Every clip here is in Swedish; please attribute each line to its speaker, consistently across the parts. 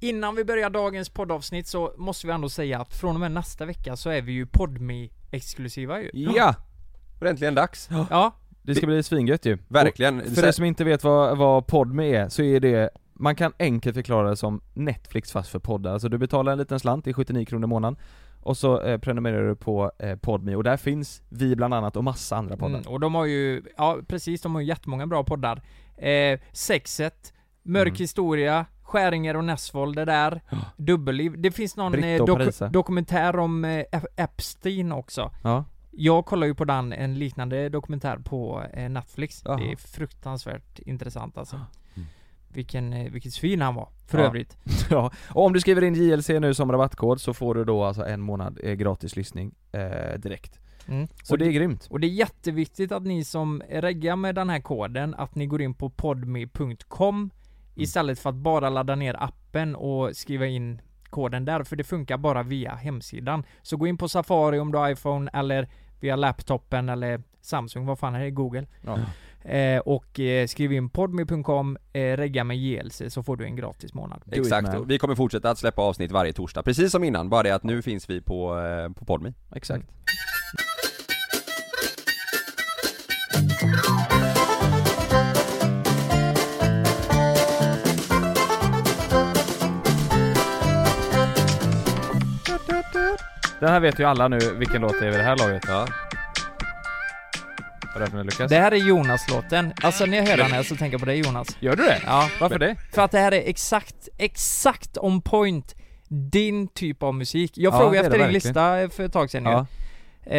Speaker 1: Innan vi börjar dagens poddavsnitt så måste vi ändå säga att från och med nästa vecka så är vi ju podmi exklusiva ju.
Speaker 2: Ja! Och det är äntligen dags.
Speaker 1: Ja,
Speaker 3: Det ska bli svingött ju.
Speaker 2: Verkligen.
Speaker 3: Och För er som inte vet vad, vad Podme är, så är det man kan enkelt förklara det som Netflix fast för poddar, alltså du betalar en liten slant, det är 79 kronor i månaden Och så eh, prenumererar du på eh, Podme och där finns vi bland annat och massa andra poddar
Speaker 1: Mm, och de har ju, ja precis, de har ju jättemånga bra poddar. Eh, sexet, Mörk
Speaker 3: Mm.
Speaker 1: historia, Skäringer och Nessvold det där, Dubbelliv. Det finns någon
Speaker 3: Britta
Speaker 1: eh,
Speaker 3: och
Speaker 1: doku-
Speaker 3: Parisa.
Speaker 1: dokumentär om eh, Ep- Epstein också.
Speaker 3: Ja,
Speaker 1: Jag kollar ju på den, en liknande dokumentär på eh, Netflix.
Speaker 3: Jaha.
Speaker 1: Det är fruktansvärt intressant alltså.
Speaker 2: Mm.
Speaker 1: Vilken, eh, vilket svin han var, för
Speaker 3: Ja.
Speaker 1: övrigt.
Speaker 3: ja. Och om du skriver in JLC nu som rabattkod så får du då alltså en månad eh, gratis lyssning eh, direkt
Speaker 1: Mm.
Speaker 3: Så det är grymt
Speaker 1: Och det är jätteviktigt att ni som reggar med den här koden, att ni går in på podme.com istället för att bara ladda ner appen och skriva in koden där, för det funkar bara via hemsidan. Så gå in på Safari om du har iPhone eller via laptopen eller Samsung, vad fan är det? Google.
Speaker 3: Ja.
Speaker 1: Eh, och eh, skriv in podme.com, eh, regga med JLC så får du en gratis månad.
Speaker 3: it,
Speaker 2: Exakt,
Speaker 3: man.
Speaker 2: och vi kommer fortsätta att släppa avsnitt varje torsdag, precis som innan, bara det att nu finns vi på, eh, på Podmi.
Speaker 3: Exakt Den här vet ju alla nu vilken låt det är vid det här laget
Speaker 2: Ja.
Speaker 3: Vad är det för Lukas?
Speaker 1: Det här är Jonas-låten. Alltså när jag hör den här så tänker jag på dig Jonas.
Speaker 3: Gör du det?
Speaker 1: Ja,
Speaker 3: Varför det?
Speaker 1: För att det här är exakt, exakt on point din typ av musik. Jag
Speaker 3: Ja, det
Speaker 1: frågade
Speaker 3: är
Speaker 1: efter
Speaker 3: det
Speaker 1: din lista för ett tag sedan ju.
Speaker 3: Ja,
Speaker 1: Eh,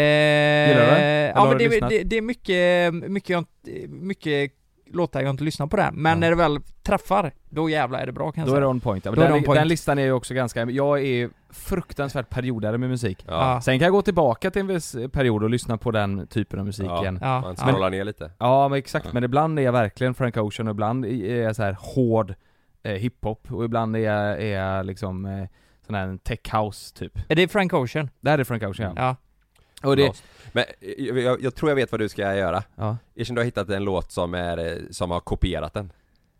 Speaker 3: Gillar du den? Eller
Speaker 1: Ja
Speaker 3: har
Speaker 1: men
Speaker 3: du
Speaker 1: det,
Speaker 3: lyssnat?
Speaker 1: det, det är mycket, mycket, jag inte- mycket låtar jag inte lyssnar på där. Men
Speaker 3: Ja.
Speaker 1: när det väl träffar, då jävlar är det bra kan jag
Speaker 3: då är
Speaker 1: säga.
Speaker 3: det on point. Ja,
Speaker 1: Då är
Speaker 3: Den,
Speaker 1: det on point.
Speaker 3: den listan är ju också ganska, jag är ju fruktansvärt periodare med musik.
Speaker 1: Ja.
Speaker 3: Sen kan jag gå tillbaka till en viss period och lyssna på den typen av musik
Speaker 2: Ja.
Speaker 3: igen.
Speaker 1: Ja.
Speaker 2: Man
Speaker 1: Ja.
Speaker 2: scrollar ner lite.
Speaker 3: Ja men exakt,
Speaker 2: Ja.
Speaker 3: men ibland är jag verkligen Frank Ocean och ibland är jag så här hård eh, hiphop och ibland är jag, är jag liksom eh, sån här tech house typ.
Speaker 1: Är det Frank Ocean?
Speaker 3: Det här är Frank Ocean ja.
Speaker 1: Ja.
Speaker 3: Och det,
Speaker 2: Lost. Men eh, jag, jag, jag tror jag vet vad du ska göra.
Speaker 3: ja.
Speaker 2: Erkänn, du har hittat en låt som, är, eh, som har kopierat den.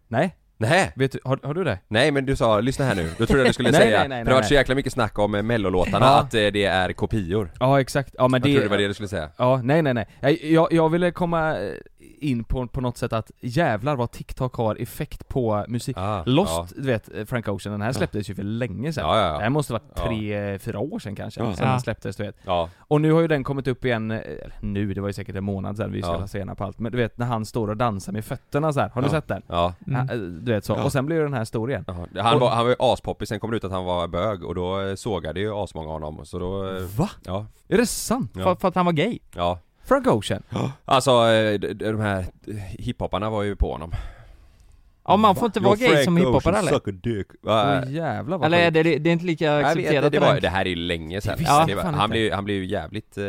Speaker 3: Nej,
Speaker 2: Nej,
Speaker 3: vet du, har, har du det?
Speaker 2: nej men du sa, lyssna här nu, då trodde jag du skulle
Speaker 3: Nej,
Speaker 2: säga,
Speaker 3: nej, nej,
Speaker 2: för det har varit
Speaker 3: nej.
Speaker 2: så jäkla mycket snack om eh, mellolåtarna,
Speaker 3: Ja.
Speaker 2: att eh, det är kopior.
Speaker 3: Ja exakt, ja men
Speaker 2: Jag trodde det
Speaker 3: det,
Speaker 2: var det du skulle säga.
Speaker 3: Ja, nej nej nej. Jag- Jag, jag ville komma eh, in på, på något sätt att jävlar vad TikTok har effekt på musik.
Speaker 2: Ah,
Speaker 3: Lost, du vet eh, Frank Ocean, den här släpptes ju för länge sedan.
Speaker 2: Ja, ja, ja.
Speaker 3: Det här måste varit
Speaker 2: Ja.
Speaker 3: tre, eh, fyra år sedan kanske,
Speaker 2: Ja.
Speaker 3: sen
Speaker 1: Ja.
Speaker 3: den släpptes du vet.
Speaker 2: Ja,
Speaker 3: Och nu har ju den kommit upp igen, eh, eller nu, det var ju säkert en månad sedan, vi är så
Speaker 2: Ja.
Speaker 3: jävla sena på allt. Men du vet när han står och dansar med fötterna så här. har du
Speaker 2: Ja.
Speaker 3: sett den?
Speaker 2: ja.
Speaker 1: Mm.
Speaker 3: Ja, eh, Du vet så,
Speaker 2: Ja.
Speaker 3: och sen blir den här stor igen.
Speaker 2: Jaha. Han,
Speaker 3: Och-
Speaker 2: var, han var ju aspoppis, sen kom det ut att han var bög och då eh, sågade ju asmånga honom, så då... eh,
Speaker 3: Va?
Speaker 2: Ja,
Speaker 3: Är det sant?
Speaker 2: Ja.
Speaker 1: För, för att han var gay?
Speaker 2: ja.
Speaker 3: Frank Ocean?
Speaker 2: Alltså, eh, d- d- de här eh, hiphopparna var ju på honom.
Speaker 1: Ja man får inte vara gay som hiphopare eller?
Speaker 2: Va?
Speaker 3: Åh jävlar vad
Speaker 1: Eller är
Speaker 3: sjukt.
Speaker 1: det, det det är inte lika
Speaker 2: Jag vet inte,
Speaker 1: accepterat
Speaker 2: det,
Speaker 1: i den-
Speaker 2: var, det här är ju länge sedan.
Speaker 3: Det visste
Speaker 2: Ja,
Speaker 3: jag
Speaker 2: det var,
Speaker 3: fan
Speaker 2: han,
Speaker 3: inte.
Speaker 2: blev, ju- han blev ju jävligt eh,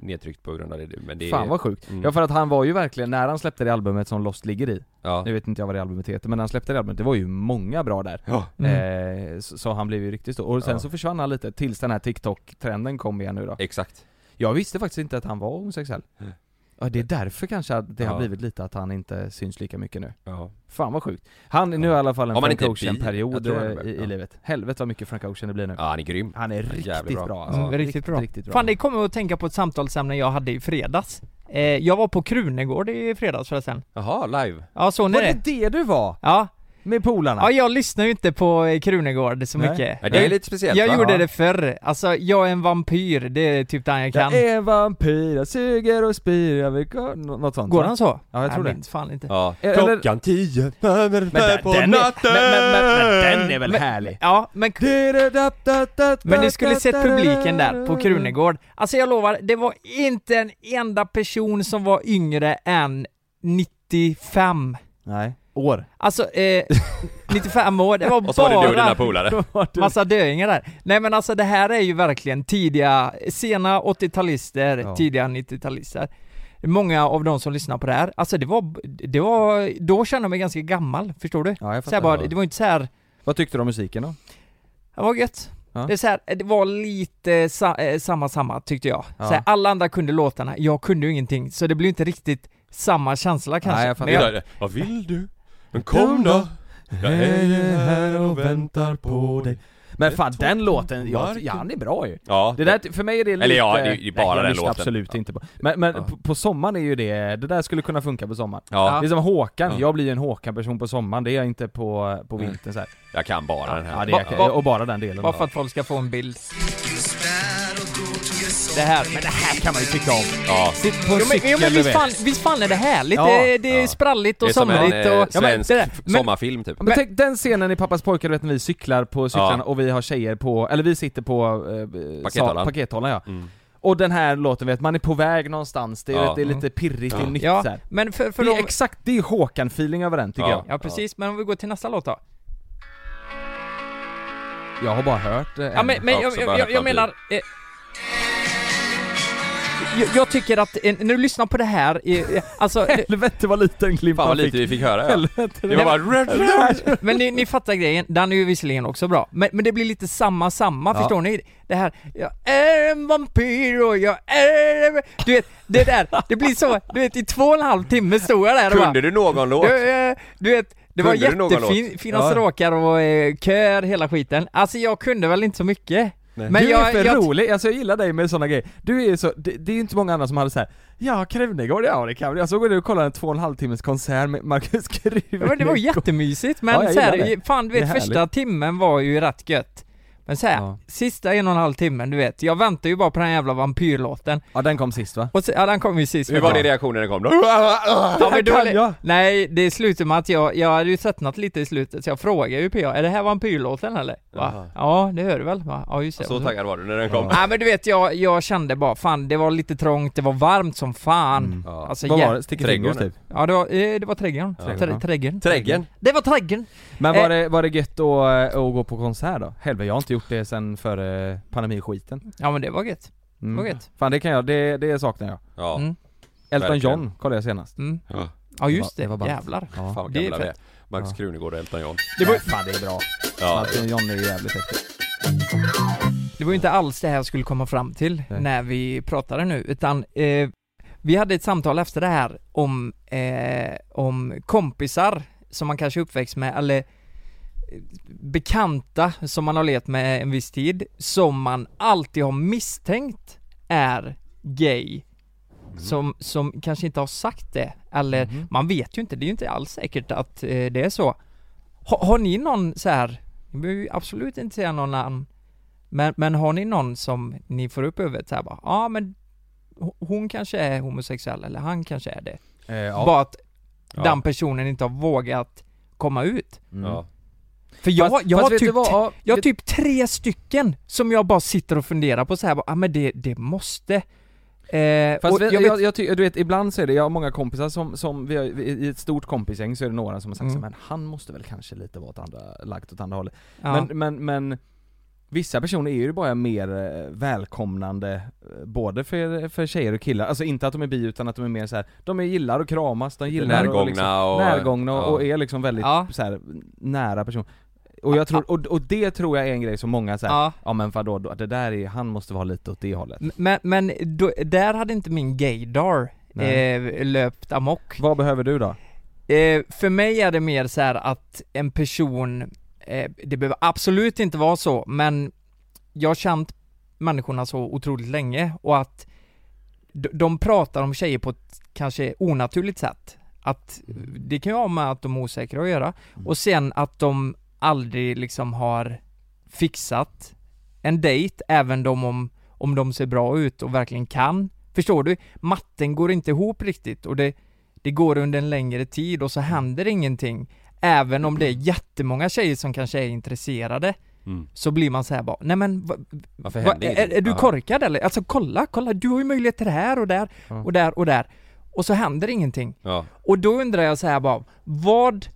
Speaker 2: nedtryckt på grund av det, men det...
Speaker 3: Fan vad sjukt.
Speaker 2: Mm.
Speaker 3: Ja för att han var ju verkligen, när han släppte det albumet som Lost ligger i,
Speaker 2: ja.
Speaker 3: nu vet inte jag vad det albumet heter, men när han släppte det albumet, det var ju många bra där.
Speaker 2: Ja.
Speaker 1: Mm.
Speaker 3: Eh, så, så han blev ju riktigt stor. Och sen
Speaker 2: Ja.
Speaker 3: så försvann han lite tills den här TikTok-trenden kom igen nu då.
Speaker 2: Exakt.
Speaker 3: Jag visste faktiskt inte att han var homosexuell.
Speaker 2: Mm.
Speaker 3: Ja, det är därför kanske att det
Speaker 2: Ja.
Speaker 3: har blivit lite att han inte syns lika mycket nu.
Speaker 2: Ja.
Speaker 3: Fan vad sjukt. Han är nu i alla fall en
Speaker 2: Om han
Speaker 3: Frank
Speaker 2: inte är bi, jag
Speaker 3: Ocean-period
Speaker 2: tror han är
Speaker 3: eh,
Speaker 2: bi,
Speaker 3: i,
Speaker 2: ja.
Speaker 3: i livet. Helvete vad mycket Frank Ocean det blir nu.
Speaker 2: ja, han är grym.
Speaker 3: Han är
Speaker 2: jävligt
Speaker 3: riktigt
Speaker 2: bra.
Speaker 3: bra.
Speaker 2: Ja.
Speaker 3: alltså.
Speaker 1: Mm, riktigt bra. Fan det kommer jag att tänka på ett samtalsämne jag hade i fredags. Eh, jag var på Krunegård i fredags förresten.
Speaker 2: Jaha, live.
Speaker 1: Ja såg ni
Speaker 3: var
Speaker 1: det?
Speaker 3: det det du var?
Speaker 1: Ja.
Speaker 3: Med polarna?
Speaker 1: ja, jag lyssnar ju inte på eh, Krunegård så
Speaker 3: Nej.
Speaker 1: mycket.
Speaker 2: Ja, det är
Speaker 1: Jag-
Speaker 2: lite speciellt
Speaker 1: jag
Speaker 2: va?
Speaker 1: gjorde
Speaker 3: Ja.
Speaker 1: det förr. Alltså, jag är en vampyr, det är typ den jag kan.
Speaker 3: Jag är vampyr, jag suger och spyr, jag vill gå... Nå- Något sånt
Speaker 1: Går
Speaker 3: va?
Speaker 1: han så?
Speaker 3: Ja, jag tror
Speaker 1: Nej,
Speaker 3: det.
Speaker 1: minns fan inte. Ja.
Speaker 2: Ja.
Speaker 3: Eller-
Speaker 2: Klockan tio, över fem på
Speaker 3: den är-
Speaker 2: natten!
Speaker 3: Men, men, men, men den är väl härlig?
Speaker 1: men, men ni skulle sett publiken där på Krunegård. Alltså jag lovar, det var inte en enda person som var yngre än 95.
Speaker 3: Nej. År.
Speaker 1: Alltså, eh, 95 år, det var bara...
Speaker 2: Och så var det du och dina polare.
Speaker 1: Massa döingar där. Nej men alltså det här är ju verkligen tidiga, sena 80-talister,
Speaker 3: Ja.
Speaker 1: tidiga 90-talister. Många av de som lyssnar på det här, alltså det var, det var, då kände jag mig ganska gammal, förstår du?
Speaker 3: Ja, jag
Speaker 1: Så här
Speaker 3: fattar.
Speaker 1: bara, det var inte så här,
Speaker 3: Vad tyckte du om musiken då?
Speaker 1: det var gött.
Speaker 3: Ja.
Speaker 1: Det, är så här, det var lite sa, eh, samma samma tyckte jag.
Speaker 3: Ja.
Speaker 1: Så här, alla andra kunde låtarna, jag kunde ju ingenting, så det blev inte riktigt samma känsla kanske.
Speaker 3: jag fattar.
Speaker 1: Men jag,
Speaker 2: Vad vill du? Men
Speaker 3: kom då.
Speaker 2: Jag är här och väntar på dig.
Speaker 3: Men fan
Speaker 2: Ett
Speaker 3: den
Speaker 2: toppen
Speaker 3: låten,
Speaker 2: på
Speaker 3: ja,
Speaker 2: marken.
Speaker 3: ja han är bra ju
Speaker 2: Ja,
Speaker 3: det där, för mig är det lite...
Speaker 2: Eller ja, det är ju bara
Speaker 3: Nej, jag
Speaker 2: den
Speaker 3: lyssnar
Speaker 2: låten.
Speaker 3: absolut
Speaker 2: Ja.
Speaker 3: inte på. Men, men
Speaker 2: Ja.
Speaker 3: på, på sommaren är ju det, det där skulle kunna funka på sommaren
Speaker 2: ja,
Speaker 3: Det är som Håkan,
Speaker 2: Ja.
Speaker 3: jag blir ju en Håkan-person på sommaren, det är jag inte på, på vintern så här.
Speaker 2: jag kan bara den här.
Speaker 3: Ja, det
Speaker 1: Va-
Speaker 3: är, okej.
Speaker 1: va-
Speaker 3: och bara den delen
Speaker 1: Bara för att folk ska få en bild.
Speaker 4: Det
Speaker 1: Det här, men det här kan man ju tycka om.
Speaker 2: Ja.
Speaker 1: Sitt på en
Speaker 3: Jo, men- jo,
Speaker 1: cykel,
Speaker 3: men
Speaker 1: du
Speaker 3: visst
Speaker 1: vet.
Speaker 3: fan-
Speaker 1: visst fan är det härligt?
Speaker 3: Ja.
Speaker 1: det, det är
Speaker 2: Ja.
Speaker 1: spralligt
Speaker 2: Det
Speaker 1: och
Speaker 2: är som en
Speaker 1: somrigt och...
Speaker 2: eh,
Speaker 1: Ja, men
Speaker 2: svensk
Speaker 1: det där- men-
Speaker 2: sommarfilm typ.
Speaker 3: Men, tänk den scenen i Pappas pojkar, du vet när vi cyklar på cyklarna
Speaker 2: Ja.
Speaker 3: och vi har tjejer på, eller vi sitter på eh,
Speaker 2: Pakethållaren.
Speaker 3: sa- pakethållaren ja.
Speaker 2: Mm.
Speaker 3: Och den här låten vet, man är på väg någonstans, det är,
Speaker 2: Ja. Mm.
Speaker 3: vet, det är lite pirrigt, det är
Speaker 2: Ja.
Speaker 3: nytt så
Speaker 1: Ja,
Speaker 3: här.
Speaker 1: men för, för
Speaker 3: Det är
Speaker 1: de...
Speaker 3: exakt, det är Håkan-feeling över den tycker
Speaker 2: Ja.
Speaker 1: Ja precis, men om vi går till nästa låt då.
Speaker 3: jag Jag har bara hört eh,
Speaker 1: Ja
Speaker 3: en.
Speaker 1: men, men
Speaker 2: Ja,
Speaker 1: jag,
Speaker 2: så
Speaker 1: jag,
Speaker 2: bara
Speaker 1: jag, jag
Speaker 2: framtid.
Speaker 1: menar... Eh, jag, jag tycker att, eh, när du lyssnar på det här, eh, alltså... eh,
Speaker 3: Helvete vad liten glimt
Speaker 2: Fan
Speaker 3: man
Speaker 2: vad lite
Speaker 3: fick.
Speaker 2: vi fick höra ja.
Speaker 3: Helvete.
Speaker 2: Det var bara...
Speaker 1: Men ni, ni fattar grejen, den är ju visserligen också bra, men, men det blir lite samma samma,
Speaker 3: Ja.
Speaker 1: förstår ni? Det här, jag är en vampyr och jag är... en-" Du vet, det där, det blir så, du vet i två och en halv timme stod jag där och bara,
Speaker 2: Kunde du någon låt?
Speaker 1: du, eh, du vet, det var
Speaker 2: Kunde du någon
Speaker 1: jättefina
Speaker 3: Ja.
Speaker 1: stråkar och eh, köer, hela skiten. Alltså jag kunde väl inte så mycket. Men
Speaker 3: du är
Speaker 1: jag,
Speaker 3: för
Speaker 1: jag,
Speaker 3: rolig, alltså jag gillar dig med sådana grejer. Du är ju så, det, det är ju inte många andra som hade så här. ja Krunegård, ja det kan vi. Jag såg du och kollade en två och en halv timmes konsert med Markus
Speaker 1: Ja, men
Speaker 3: Krunegård.
Speaker 1: det var jättemysigt men
Speaker 3: Ja, jag
Speaker 1: så här,
Speaker 3: gillar det.
Speaker 1: i- fan du
Speaker 3: Det är
Speaker 1: vet första timmen var ju rätt gött. Men så här,
Speaker 3: Ja.
Speaker 1: sista en och en halv timmen du vet, jag väntar ju bara på den här jävla vampyrlåten.
Speaker 3: Ja den kom sist va?
Speaker 1: Och så, ja den kom ju sist.
Speaker 2: Hur var din reaktion när den kom då?
Speaker 1: Ja, men då,
Speaker 3: Kan jag?
Speaker 1: Nej, det slutade med att jag, jag hade ju tröttnat lite i slutet så jag frågade ju PA, är det här vampyrlåten eller? Va?
Speaker 2: Jaha.
Speaker 1: Ja, det hör du väl? Va? Ja just det.
Speaker 2: Så taggad var du när den kom?
Speaker 1: Nej men du vet, jag, jag kände bara fan det var lite trångt, det var varmt som fan.
Speaker 3: Mm.
Speaker 2: Ja.
Speaker 1: Alltså,
Speaker 3: Vad
Speaker 1: jä-
Speaker 3: var det? Sticker fingers
Speaker 2: Trädgården.
Speaker 3: typ?
Speaker 1: Ja det var, eh, det var trädgården.
Speaker 2: Ja.
Speaker 1: Trä- Trädgården.
Speaker 2: Trädgen?
Speaker 1: Det var trädgården.
Speaker 3: Men
Speaker 1: Eh.
Speaker 3: var det, var det gött att, eh, att gå på konsert då? Helvete, jag har inte gjort det sen före pandemiskiten.
Speaker 1: Ja men det var gött.
Speaker 3: Mm.
Speaker 1: Det var gött.
Speaker 3: Fan det kan jag, det, det saknar jag.
Speaker 2: Ja.
Speaker 1: Mm.
Speaker 3: Elton
Speaker 2: Verkligen.
Speaker 3: John kollade jag senast.
Speaker 1: Mm.
Speaker 2: Ja.
Speaker 1: Ja just
Speaker 3: Det
Speaker 1: det,
Speaker 3: var- det var ballt.
Speaker 1: jävlar.
Speaker 3: Ja.
Speaker 2: Fan vad
Speaker 1: Det är
Speaker 2: gamla vi är.
Speaker 1: fett.
Speaker 2: Max
Speaker 3: Ja.
Speaker 2: Krunegård och Elton John.
Speaker 1: Det var,
Speaker 3: Nej, fan det är bra.
Speaker 2: Ja.
Speaker 3: Elton John är ju jävligt häftig.
Speaker 1: det var ju inte alls det här jag skulle komma fram till
Speaker 3: Nej.
Speaker 1: när vi pratade nu, utan eh, vi hade ett samtal efter det här om, eh, om kompisar som man kanske är uppväxt med, eller eh, bekanta som man har levt med en viss tid, som man alltid har misstänkt är gay. Som, som kanske inte har sagt det, eller
Speaker 3: Mhm.
Speaker 1: man vet ju inte, det är ju inte alls säkert att eh, det är så. Ha, har ni någon så här, ni behöver ju absolut inte säga någon namn, men, men har ni någon som ni får upp huvudet så här bara, ja men ho- hon kanske är homosexuell eller han kanske är det.
Speaker 3: Eh, ja.
Speaker 1: Bara att
Speaker 2: Ja.
Speaker 1: den personen inte har vågat komma ut.
Speaker 3: Mm.
Speaker 2: Ja.
Speaker 1: För jag,
Speaker 3: Fast-
Speaker 1: jag
Speaker 3: fast
Speaker 1: har
Speaker 3: vet du
Speaker 1: typ
Speaker 3: vad?
Speaker 1: t-
Speaker 3: Ja,
Speaker 1: jag har
Speaker 3: vet-
Speaker 1: typ tre stycken som jag bara sitter och funderar på så här, bara, ah, men det, det måste. Eh,
Speaker 3: Fast
Speaker 1: och
Speaker 3: vi,
Speaker 1: jag
Speaker 3: jag,
Speaker 1: vet,
Speaker 3: jag, ty- du vet, ibland så är det, jag har många kompisar som, som vi har, vi- i ett stort kompisgäng så är det några som har sagt
Speaker 1: Mm.
Speaker 3: så, men han måste väl kanske lite vara åt andra, lagt åt andra hållet.
Speaker 1: ja.
Speaker 3: Men, men, men vissa personer är ju bara mer eh, välkomnande, eh, både för, för tjejer och killar, alltså inte att de är bi utan att de är mer så här, de är, gillar att kramas, de gillar att
Speaker 2: Närgångna
Speaker 3: liksom,
Speaker 2: och...
Speaker 3: närgångna och,
Speaker 2: ja.
Speaker 3: och är liksom väldigt
Speaker 1: Ja.
Speaker 3: så här, nära person. Och, jag tror, och, och det tror jag är en grej som många säger. Ja.
Speaker 1: ja.
Speaker 3: ja men vadå, då- det där är, han måste vara lite åt det hållet.
Speaker 1: Men, men då, där hade inte min gaydar
Speaker 3: Nej.
Speaker 1: eh, löpt amok.
Speaker 3: Vad behöver du då?
Speaker 1: Eh, för mig är det mer så här att en person, eh, det behöver absolut inte vara så, men jag har känt människorna så otroligt länge och att d- de pratar om tjejer på ett kanske onaturligt sätt. Att det kan ju ha med att de är osäkra att göra och sen att de aldrig liksom har fixat en dejt, även de om, om de ser bra ut och verkligen kan. Förstår du? Matten går inte ihop riktigt och det, det går under en längre tid och så
Speaker 2: Mm.
Speaker 1: händer ingenting. Även om det är jättemånga tjejer som kanske är intresserade
Speaker 2: Mm.
Speaker 1: så blir man så här bara, nej men va,
Speaker 2: Varför
Speaker 1: va,
Speaker 2: hände
Speaker 1: är, är du
Speaker 2: Ja.
Speaker 1: korkad eller? Alltså kolla, kolla, du har ju möjlighet till det här och där
Speaker 3: Ja.
Speaker 1: och där och där. Och så händer ingenting.
Speaker 2: Ja.
Speaker 1: Och då undrar jag så här bara, vad,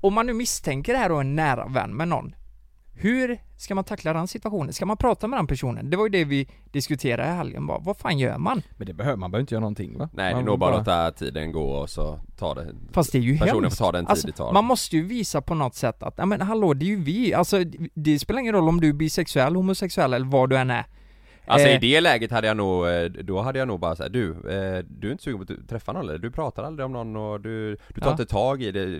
Speaker 1: om man nu misstänker det här och är en nära vän med någon, hur ska man tackla den situationen? Ska man prata med den personen? Det var ju det vi diskuterade i helgen bara, vad fan gör man?
Speaker 3: Men det behöver, man behöver inte göra någonting va?
Speaker 2: Nej, det
Speaker 3: man
Speaker 2: är nog bara att låta tiden gå och så ta det.
Speaker 1: Fast det är ju
Speaker 2: Personen
Speaker 1: hemskt.
Speaker 2: får ta den tid det
Speaker 1: Alltså,
Speaker 2: tar.
Speaker 1: man måste ju visa på något sätt att, ja men hallå det är ju vi, alltså det spelar ingen roll om du är bisexuell, homosexuell eller vad du än är.
Speaker 2: Alltså i
Speaker 3: Eh,
Speaker 2: det läget hade jag nog, eh, då hade jag nog bara såhär, du, eh, du är inte sugen på att träffa någon eller? Du pratar aldrig om någon och du, du tar
Speaker 1: Ja.
Speaker 2: inte tag i det eh,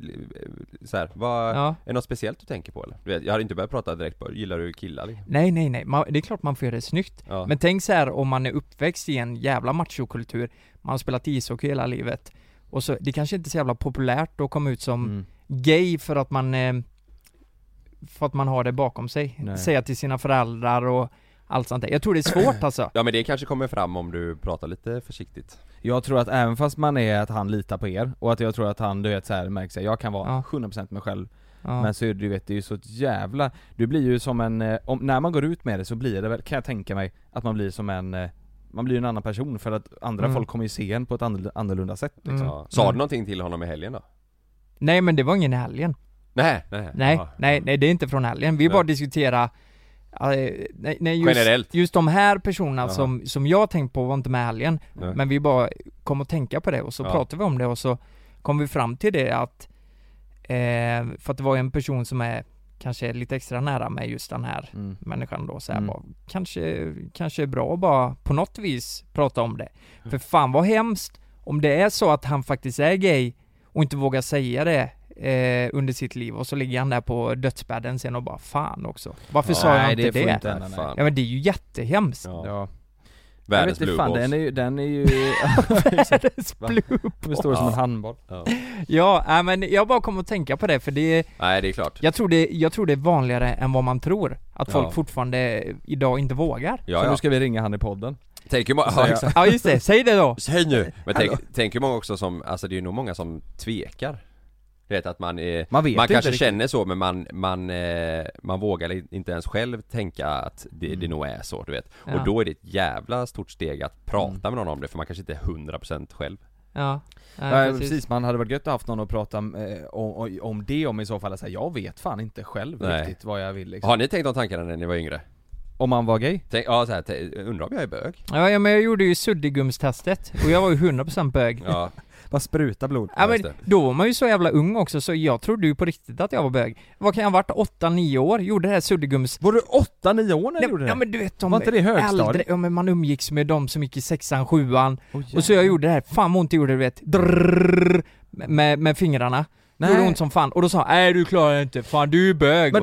Speaker 2: så här, vad, är
Speaker 1: Ja.
Speaker 2: det något speciellt du tänker på eller? Du vet, jag hade inte börjat prata direkt bara, gillar du killar liksom?
Speaker 1: Nej, nej, nej. Man, det är klart man får göra det snyggt.
Speaker 2: Ja.
Speaker 1: Men tänk så här om man är uppväxt i en jävla machokultur, man har spelat ishockey hela livet och så, det kanske inte är så jävla populärt att komma ut som
Speaker 3: Mm.
Speaker 1: gay för att man eh, för att man har det bakom sig.
Speaker 3: Nej.
Speaker 1: Säga till sina föräldrar och allt sånt där. Jag tror det är svårt alltså.
Speaker 2: ja men det kanske kommer fram om du pratar lite försiktigt
Speaker 3: Jag tror att även fast man är att han litar på er och att jag tror att han du vet så här märker sig, jag kan vara
Speaker 1: Ja.
Speaker 3: 100% mig själv
Speaker 1: Ja.
Speaker 3: Men så är det, du vet, det är ju så ett jävla, du blir ju som en, eh, om, när man går ut med det så blir det väl, kan jag tänka mig, att man blir som en, eh, man blir ju en annan person för att andra
Speaker 1: Mm.
Speaker 3: folk kommer ju se en på ett annorl- annorlunda sätt liksom.
Speaker 1: Mm.
Speaker 2: ja. Sa du någonting till honom i helgen då?
Speaker 1: Nej men det var ingen i helgen.
Speaker 2: Nej, nej,
Speaker 1: Nej,
Speaker 2: Ja.
Speaker 1: nej, nej det är inte från helgen. Vi
Speaker 2: Nej.
Speaker 1: bara diskutera eh, nej, nej, just,
Speaker 2: Generellt.
Speaker 1: just de här personerna
Speaker 2: Jaha.
Speaker 1: som, som jag tänkt på var inte med helgen,
Speaker 2: Nej.
Speaker 1: men vi bara kom att tänka på det och så
Speaker 2: Ja.
Speaker 1: pratade vi om det och så kom vi fram till det att eh, För att det var en person som är kanske lite extra nära med just den här
Speaker 3: Mm.
Speaker 1: människan då så här
Speaker 3: Mm.
Speaker 1: bara, kanske, kanske är bra att bara på något vis prata om det. För fan vad hemskt om det är så att han faktiskt är gay och inte vågar säga det eh, under sitt liv och så ligger han där på dödsbädden sen och bara fan också. Varför
Speaker 2: Ja,
Speaker 1: sa jag
Speaker 3: nej,
Speaker 1: inte
Speaker 3: det
Speaker 1: det?
Speaker 3: får inte
Speaker 2: Nej,
Speaker 3: hända, nej.
Speaker 2: fan.
Speaker 1: Ja men det är ju jättehemskt.
Speaker 2: Ja.
Speaker 3: Ja. Jag
Speaker 2: Världens
Speaker 3: vet inte
Speaker 2: blue
Speaker 3: fan,
Speaker 2: balls
Speaker 3: den är ju, den är ju,
Speaker 1: Världens
Speaker 3: Va?
Speaker 1: blue.
Speaker 3: den står som en
Speaker 2: Ja.
Speaker 3: handboll
Speaker 2: ja.
Speaker 1: Ja, nej, men jag bara kom att tänka på det för det,
Speaker 2: Nej det är klart
Speaker 1: jag tror det, jag tror det är vanligare än vad man tror. Att folk
Speaker 2: Ja.
Speaker 1: fortfarande idag inte vågar.
Speaker 3: Så
Speaker 2: Ja,
Speaker 3: nu
Speaker 2: ja.
Speaker 3: ska vi ringa han i podden
Speaker 2: Tänk hur många,
Speaker 3: säga-
Speaker 2: ja, exakt.
Speaker 1: Ja just det, säg det då!
Speaker 2: Säg
Speaker 3: Alltså,
Speaker 2: nu! Men tänk, tänk hur många också som, alltså det är ju nog många som tvekar Du vet att man är
Speaker 3: Man vet
Speaker 2: man
Speaker 3: inte
Speaker 2: kanske
Speaker 3: riktigt.
Speaker 2: känner så men man, man, eh, man vågar i- inte ens själv tänka att det,
Speaker 3: Mm.
Speaker 2: det nog är så du vet
Speaker 1: Ja.
Speaker 2: Och då är det ett jävla stort steg att prata
Speaker 3: Mm.
Speaker 2: med någon om det för man kanske inte är 100% själv
Speaker 1: Ja, nej,
Speaker 3: Nej, precis. man hade varit gött att haft någon att prata eh, om, om det om i så fall, så här, jag vet fan inte själv
Speaker 2: Nej.
Speaker 3: riktigt vad jag vill liksom.
Speaker 2: Har ni tänkt de tankarna när ni var yngre?
Speaker 3: Om man var gay?
Speaker 2: Tänk, ja, så här, te- undrar om jag är bög?
Speaker 1: Ja, ja men jag gjorde ju suddigumstestet och jag var ju 100% bög. Ja.
Speaker 2: Ja,
Speaker 3: Bara spruta blod
Speaker 2: Ja, just
Speaker 1: men
Speaker 2: det.
Speaker 1: då var man ju så jävla ung också så jag trodde ju på riktigt att jag var bög. Vad kan jag ha varit? 8-9 år? Gjorde det här suddigums...
Speaker 3: Var du 8-9 år när du gjorde det?
Speaker 1: ja men du vet de
Speaker 3: Var inte det
Speaker 1: äldre,
Speaker 3: högstadiet?
Speaker 1: ja men man umgicks med de som gick i sexan, sjuan
Speaker 3: Åh,
Speaker 1: och så jag gjorde det här, fan vad ont det gjorde du vet, drrrr, med, med fingrarna. Det gjorde
Speaker 3: Nej.
Speaker 1: ont som fan och då sa han, nej du klarar det inte, fan du är bög.
Speaker 3: Men-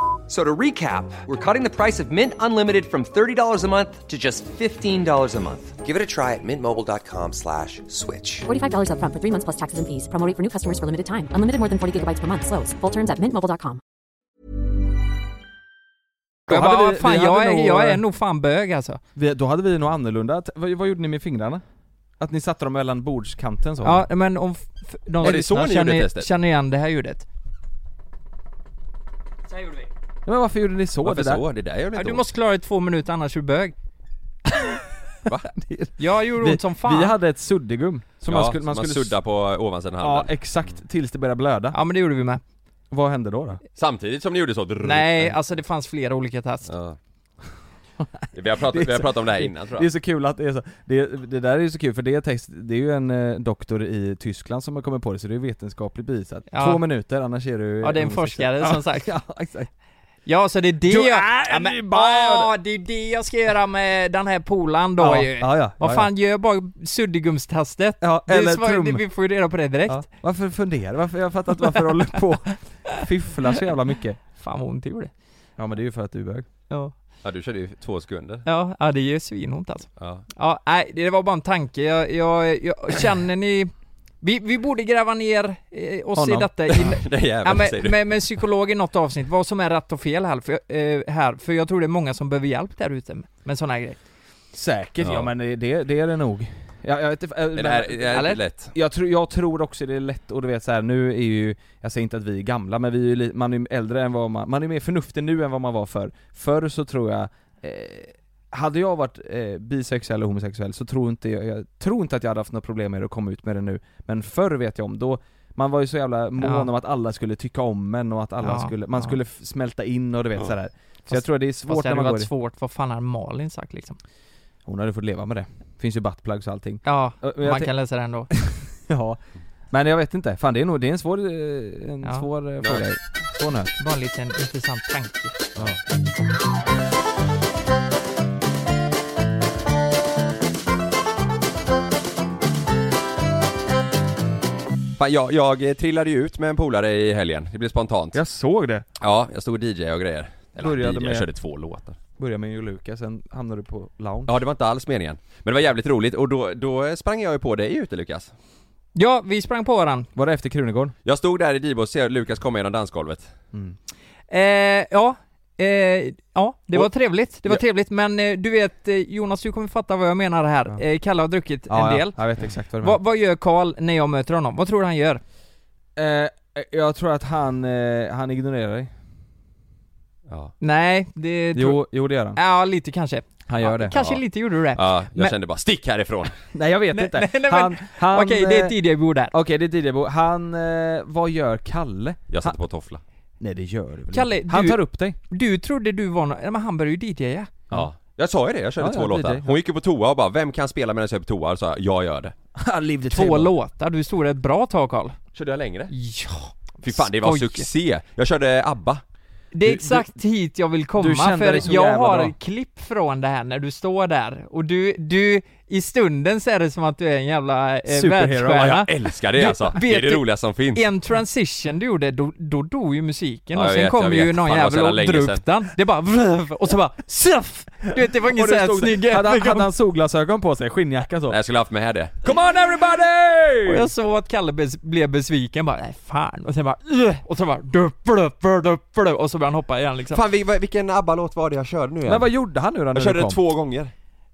Speaker 4: a-" So to recap, we're cutting the price of Mint Unlimited from $30 a month to just $15 a month. Give it a try at mintmobile.com slash switch.
Speaker 5: $45 up front for three months plus taxes and fees. Promo rate for new customers for limited time. Unlimited more than 40 gigabytes per month. Slows. Full terms at mintmobile.com.
Speaker 3: Då
Speaker 1: jag
Speaker 3: hade
Speaker 1: bara,
Speaker 3: vi-
Speaker 1: fan
Speaker 3: vi
Speaker 1: jag
Speaker 3: hade
Speaker 1: är,
Speaker 3: nog-
Speaker 1: jag är nog fan bög alltså.
Speaker 3: Vi, då hade vi nog annorlunda, T- vad, vad gjorde ni med fingrarna? Att ni satte dem mellan bordskanten så?
Speaker 1: Ja men om f- f- de som
Speaker 2: det så
Speaker 1: lyssnar
Speaker 2: ni gjorde
Speaker 1: känner,
Speaker 2: testet?
Speaker 1: känner igen det här ljudet. Så här gjorde vi.
Speaker 3: Men varför gjorde ni så?
Speaker 2: varför
Speaker 3: det där?
Speaker 2: så? Det där gör väl
Speaker 1: Ja,
Speaker 2: inte
Speaker 1: du
Speaker 2: ont?
Speaker 1: måste klara det i två minuter annars är du bög.
Speaker 2: Va?
Speaker 1: Jag gjorde
Speaker 3: Vi,
Speaker 1: ont som fan.
Speaker 3: vi hade ett suddigum som
Speaker 2: ja,
Speaker 3: man skulle, man skulle
Speaker 2: sudda på ovansidan
Speaker 3: Ja
Speaker 2: handen
Speaker 3: exakt, tills det började blöda.
Speaker 1: Ja men det gjorde vi med.
Speaker 3: Vad hände då? då?
Speaker 2: Samtidigt som ni gjorde så drrr.
Speaker 1: Nej, alltså det fanns flera olika test.
Speaker 2: ja. Vi har pratat,
Speaker 3: Det är
Speaker 2: vi har
Speaker 3: så-
Speaker 2: pratat om det här innan tror
Speaker 3: Det är
Speaker 2: jag
Speaker 3: så kul att det är så, det, det där är ju så kul för det är text, det är ju en eh, doktor i Tyskland som har kommit på det så det är vetenskapligt bevisat.
Speaker 1: Ja.
Speaker 3: Två minuter annars är du
Speaker 1: Ja, det är en
Speaker 3: homosexuell.
Speaker 1: forskare, som sagt.
Speaker 3: Ja exakt.
Speaker 1: Ja så det är det
Speaker 3: Du
Speaker 1: jag...
Speaker 3: är
Speaker 1: ja,
Speaker 3: en
Speaker 1: men,
Speaker 3: bög!
Speaker 1: åh, det är det jag ska göra med den här polaren då
Speaker 3: ja,
Speaker 1: ju.
Speaker 3: ja, ja,
Speaker 1: Vad
Speaker 3: ja,
Speaker 1: fan, gör bara suddigumstestet.
Speaker 3: Ja,
Speaker 1: Det är
Speaker 3: eller
Speaker 1: svar-
Speaker 3: trum.
Speaker 1: det- Vi får ju reda på det direkt.
Speaker 3: Ja. Varför fundera? Varför, jag fattar inte varför du håller på och fifflar så jävla mycket.
Speaker 1: Fan vad ont det gjorde.
Speaker 3: Ja men det är ju för att du är bög.
Speaker 1: Ja.
Speaker 2: Ja du körde ju två sekunder
Speaker 1: Ja, ja, det gör svinont alltså.
Speaker 2: Ja,
Speaker 1: Ja, nej, det var bara en tanke. Jag, jag, jag känner ni... Vi, vi borde gräva ner eh, oss i
Speaker 3: Honom.
Speaker 1: detta i,
Speaker 2: det är jävligt
Speaker 1: ja, med,
Speaker 2: säger du
Speaker 1: med, med psykolog i något avsnitt, vad som är rätt och fel här för, eh, här, för jag tror det är många som behöver hjälp där ute med- med sådana här grejer.
Speaker 3: Säkert, ja,
Speaker 2: Ja.
Speaker 3: men det, det är det nog. Ja, jag, vet inte, äh,
Speaker 2: Men
Speaker 3: men
Speaker 2: det här det här är
Speaker 1: Eller?
Speaker 2: inte lätt
Speaker 3: jag, tror, jag tror också det är lätt, och du vet så här, nu är ju, jag säger inte att vi är gamla, men vi är ju, li- man är ju äldre än vad man, man är mer förnuftig nu än vad man var förr. Förr så tror jag, eh, hade jag varit eh, bisexuell och homosexuell så tror inte jag, jag tror inte att jag hade haft några problem med att komma ut med det nu. Men förr vet jag om, då Man var ju så jävla mån
Speaker 1: Ja.
Speaker 3: om att alla skulle tycka om en och att alla
Speaker 1: Ja,
Speaker 3: skulle, man
Speaker 1: ja.
Speaker 3: skulle f- smälta in och du vet
Speaker 2: Ja.
Speaker 3: sådär. Så
Speaker 1: Fast-
Speaker 3: jag tror det är
Speaker 1: Fast
Speaker 3: svårt
Speaker 1: det hade
Speaker 3: när man går
Speaker 1: varit
Speaker 3: i-
Speaker 1: svårt, vad fan hade Malin sagt liksom?
Speaker 3: Hon hade fått leva med det. Finns ju buttplugs och allting.
Speaker 1: Ja,
Speaker 3: Och- och jag
Speaker 1: man
Speaker 3: tänk-
Speaker 1: kan läsa den då.
Speaker 3: Ja. Men jag vet inte, fan det är nog, det är en svår, eh, en
Speaker 1: Ja.
Speaker 3: svår eh, fråga. Svår nöt.
Speaker 1: Bara en liten intressant tanke.
Speaker 2: Fan, jag, jag eh, trillade ju ut med en polare i helgen, det blev spontant
Speaker 3: Jag såg det.
Speaker 2: Ja, jag stod och DJ och grejer Eller
Speaker 3: Började
Speaker 2: DJ,
Speaker 3: med-
Speaker 2: jag körde två låtar
Speaker 3: Började med Joluka, sen hamnade du på lounge.
Speaker 2: Ja det var inte alls meningen Men det var jävligt roligt och då, då sprang jag ju på dig ute Lukas
Speaker 1: Ja, vi sprang på varann.
Speaker 3: Var det efter Krunegården? Mm.
Speaker 2: Jag stod där i Dibos och ser Lukas komma genom dansgolvet
Speaker 1: Eh, ja, eh, ja, det var
Speaker 2: Och-
Speaker 1: trevligt. Det var
Speaker 2: Ja.
Speaker 1: trevligt, men eh, du vet eh, Jonas, du kommer fatta vad jag menar här.
Speaker 3: Ja.
Speaker 1: Eh, Kalle har druckit en del.
Speaker 3: jag vet exakt vad du menar.
Speaker 1: Vad, vad gör Karl när jag möter honom? Vad tror du han gör?
Speaker 3: Eh, jag tror att han, eh, han ignorerar dig.
Speaker 2: Ja,
Speaker 1: Nej, det... tror-
Speaker 3: Jo, jo det gör han.
Speaker 1: Ja, lite kanske.
Speaker 3: Han gör
Speaker 1: Ja,
Speaker 3: det.
Speaker 1: Kanske
Speaker 2: Ja.
Speaker 1: lite gjorde du det.
Speaker 2: ja jag
Speaker 1: Men-
Speaker 2: kände bara 'stick härifrån'
Speaker 3: Nej jag vet
Speaker 1: Nej,
Speaker 3: inte.
Speaker 1: nej, nej, men-
Speaker 3: han, han,
Speaker 1: Okej, det är ett
Speaker 3: eh,
Speaker 1: DJ-bord där.
Speaker 3: Okej det är Didjebo. Han, eh, vad gör Kalle?
Speaker 2: Jag satte på toffla
Speaker 3: Nej det gör du väl
Speaker 1: Kalle,
Speaker 3: inte. Han
Speaker 1: du-
Speaker 3: tar upp dig.
Speaker 1: Du trodde du var någon... Nej, Men han började ju DJa.
Speaker 2: Ja Jag sa ju det, jag körde
Speaker 3: Ja,
Speaker 2: två
Speaker 3: ja,
Speaker 2: låtar
Speaker 3: DJ.
Speaker 2: Hon gick ju på toa och bara 'Vem kan spela medan jag är på toa?' Och sa jag, 'Jag gör det'
Speaker 1: Två låtar, du stod ett bra tag Karl.
Speaker 2: Körde jag längre?
Speaker 1: Ja.
Speaker 2: Fy fan det var
Speaker 1: Skoj.
Speaker 2: succé! Jag körde ABBA
Speaker 1: Det är
Speaker 3: Du-
Speaker 1: exakt hit jag vill
Speaker 3: du
Speaker 1: komma,
Speaker 3: kände dig
Speaker 1: för
Speaker 3: så
Speaker 1: jag
Speaker 3: jävla
Speaker 1: har
Speaker 3: bra.
Speaker 1: klipp från det här när du står där, och du, du, i stunden så är det som att du är en jävla eh,
Speaker 3: Superhero.
Speaker 2: Ja,
Speaker 1: världsstjärna.
Speaker 2: jag älskar det
Speaker 1: Du-
Speaker 2: alltså!
Speaker 1: vet
Speaker 2: Det är det
Speaker 1: du-
Speaker 2: roligaste som finns!
Speaker 1: En transition du gjorde, då, då dog ju musiken
Speaker 2: Ja,
Speaker 1: och
Speaker 2: jag
Speaker 1: sen
Speaker 2: vet,
Speaker 1: kom
Speaker 2: jag
Speaker 1: ju
Speaker 2: vet.
Speaker 1: någon
Speaker 2: Fan, det var så
Speaker 1: jävel och
Speaker 2: jävla länge
Speaker 1: drog upp den. Det bara vrv, och så bara surf! Du vet det var ingen
Speaker 3: Och det
Speaker 1: såhär
Speaker 3: stod-
Speaker 1: snygg
Speaker 3: hade, han- hade
Speaker 1: övergång.
Speaker 3: han solglasögon på sig? Skinnjacka så?
Speaker 2: Nej, jag skulle haft med det
Speaker 3: Come on
Speaker 1: Och
Speaker 3: everybody!
Speaker 1: jag såg att Kalle bes- blev besviken bara, nej fan, och sen bara "Ugh!" och så bara dupp, dupp, dupp, dupp, och så började han hoppa igen liksom.
Speaker 2: Fan vil- vilken ABBA-låt var det jag körde nu igen?
Speaker 3: Men vad gjorde han nu då när
Speaker 2: Jag körde
Speaker 3: du kom?
Speaker 2: två gånger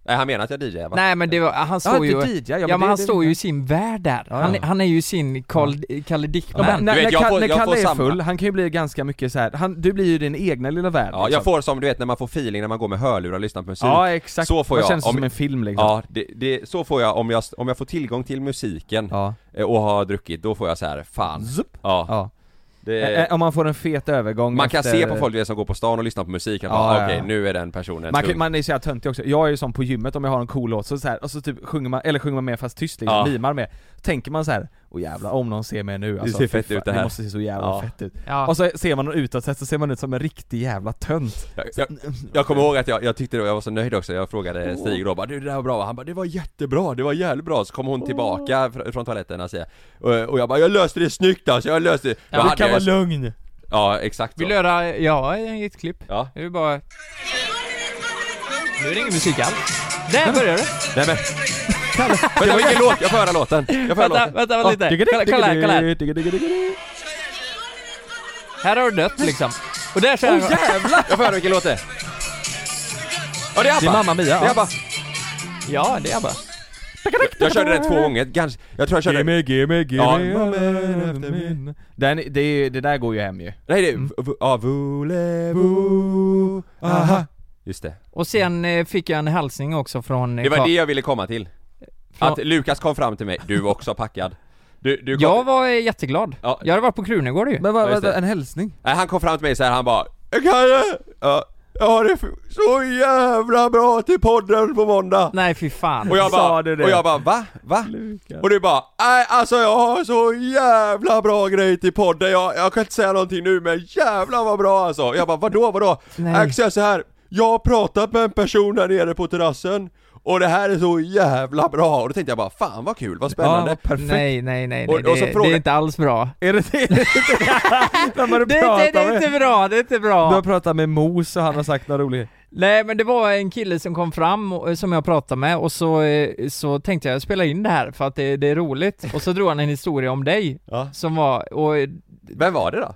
Speaker 2: Nej han menar att jag DJar va?
Speaker 1: Nej men det var, han
Speaker 3: Ja,
Speaker 1: står ju...
Speaker 3: inte DJ, ja,
Speaker 1: Ja men,
Speaker 3: det-
Speaker 1: han
Speaker 3: det-
Speaker 1: står ju i sin värld där.
Speaker 3: Ja,
Speaker 1: Han,
Speaker 3: ja.
Speaker 1: han är ju sin Carl, Kalle
Speaker 3: Ja,
Speaker 1: Dickman.
Speaker 3: men, när,
Speaker 2: Du vet,
Speaker 3: när,
Speaker 2: jag
Speaker 3: Kalle-
Speaker 2: får-
Speaker 3: när
Speaker 2: jag
Speaker 3: Kalle
Speaker 2: får
Speaker 3: är
Speaker 2: samma-
Speaker 3: full, han kan ju bli ganska mycket så här. Han, du blir ju din egna lilla värld
Speaker 2: Ja
Speaker 3: liksom.
Speaker 2: jag får som du vet när man får feeling när man går med hörlurar och lyssnar på musik
Speaker 3: Ja exakt,
Speaker 2: Så får
Speaker 3: Man
Speaker 2: jag,
Speaker 3: känns
Speaker 2: om-
Speaker 3: som en film liksom
Speaker 2: Ja, det, det, så får jag om, jag om jag får tillgång till musiken
Speaker 3: Ja,
Speaker 2: eh, och har druckit, då får jag så här, fan
Speaker 3: Zup.
Speaker 2: Ja,
Speaker 3: ja.
Speaker 2: det,
Speaker 3: Eh, eh, Om man får en fet övergång
Speaker 2: Man kan
Speaker 3: efter-
Speaker 2: se på folk du vet, som går på stan och lyssnar på musiken,
Speaker 3: Ja,
Speaker 2: bara,
Speaker 3: ja, ja.
Speaker 2: okej nu är den personen
Speaker 3: man,
Speaker 2: tung
Speaker 3: kan, man är så jävla töntig också, jag är ju sån på gymmet om jag har en cool låt, så, så här, och så typ sjunger man, eller sjunger man med fast tyst liksom,
Speaker 2: Ja.
Speaker 3: limar med Tänker man så här, åh jävlar om någon ser mig nu alltså,
Speaker 2: ser
Speaker 3: fy
Speaker 2: fett
Speaker 3: fan,
Speaker 2: ut det här."
Speaker 3: måste se så jävla
Speaker 2: Ja.
Speaker 3: fett ut
Speaker 1: Ja.
Speaker 3: Och så ser man någon utåt sett så ser man ut som en riktig jävla tönt
Speaker 2: jag, jag, jag kommer ihåg att jag, jag tyckte det, jag var så nöjd också, jag frågade Stig då bara, du det där var bra va?" Han bara, det var jättebra, det var jävligt bra Så kom hon tillbaka fr- från toaletten och, och, och jag bara, jag löste det snyggt alltså, jag löste det Då
Speaker 1: men
Speaker 2: hade jag-
Speaker 3: lugn!
Speaker 2: Ja, exakt så.
Speaker 1: Vill du höra, ja, ett klipp.
Speaker 2: Ja.
Speaker 1: Det är bara... Nu är det ingen musik alls. Där börjar det.
Speaker 2: Nej men... Vänta, det var ingen låt, jag får höra låten! Jag får höra
Speaker 1: Vänta,
Speaker 2: låten!
Speaker 1: vänta, vänta lite. Kolla, kolla här, kolla här. Här har du dött liksom. Och där kör han.
Speaker 2: Jävlar! Jag får höra vilken låt det är! Ja det är ABBA!
Speaker 3: Det är Mamma Mia,
Speaker 2: Det är
Speaker 3: ja.
Speaker 2: ABBA!
Speaker 1: Ja, det är bara.
Speaker 2: Jag körde den två gånger, ganska... Jag tror jag körde...
Speaker 3: Gimme, gimme, gimme
Speaker 2: Ja.
Speaker 3: all of me. Den, det, är ju- det där går ju hem ju
Speaker 2: Nej det är... v- Ja, voulez-vous... Aha! Just det.
Speaker 1: Och sen eh, fick jag en hälsning också från... eh,
Speaker 2: Det var
Speaker 1: Karl-
Speaker 2: det jag ville komma till.
Speaker 1: från-
Speaker 2: Att Lukas kom fram till mig, du var också packad. Du, du kom...
Speaker 1: Jag var eh, jättegglad.
Speaker 2: Ja.
Speaker 1: Jag hade varit på Krunegård ju.
Speaker 3: Men vad,
Speaker 2: Ja, just
Speaker 3: vad,
Speaker 2: det.
Speaker 3: en hälsning?
Speaker 2: Nej, han kom fram till mig så här, han bara Kalle! Ja, jag har det f- så jävla bra till podden på måndag!
Speaker 1: Nej, fy fan.
Speaker 2: Och jag
Speaker 3: Sa
Speaker 2: bara,
Speaker 3: du det?
Speaker 2: och jag bara va? Va? Och du bara, nej alltså jag har så jävla bra grej till podden, jag, jag kan inte säga någonting nu men jävlar vad bra alltså! Jag bara, vadå vadå?
Speaker 1: Nej.
Speaker 2: Nej. Jag kan säga så här. jag har pratat med en person där nere på terrassen och det här är så jävla bra! Och då tänkte jag bara, fan vad kul, vad spännande!
Speaker 3: Ja, perfekt
Speaker 1: Nej, nej, nej, nej.
Speaker 2: Och- och så
Speaker 1: det, det
Speaker 2: fråga-
Speaker 1: är inte alls bra.
Speaker 3: Är det det? Vem har du
Speaker 1: Det är,
Speaker 3: pratat
Speaker 1: inte, det är
Speaker 3: med?
Speaker 1: inte bra, det är inte bra.
Speaker 3: Du har pratat med Mos och han har sagt något roligt
Speaker 1: Nej men det var en kille som kom fram och, eh, som jag pratade med och så, eh, så tänkte jag spela in det här för att det, det är roligt och så drog han en historia om dig
Speaker 2: Ja.
Speaker 1: som var, och eh,
Speaker 2: Vem var det då?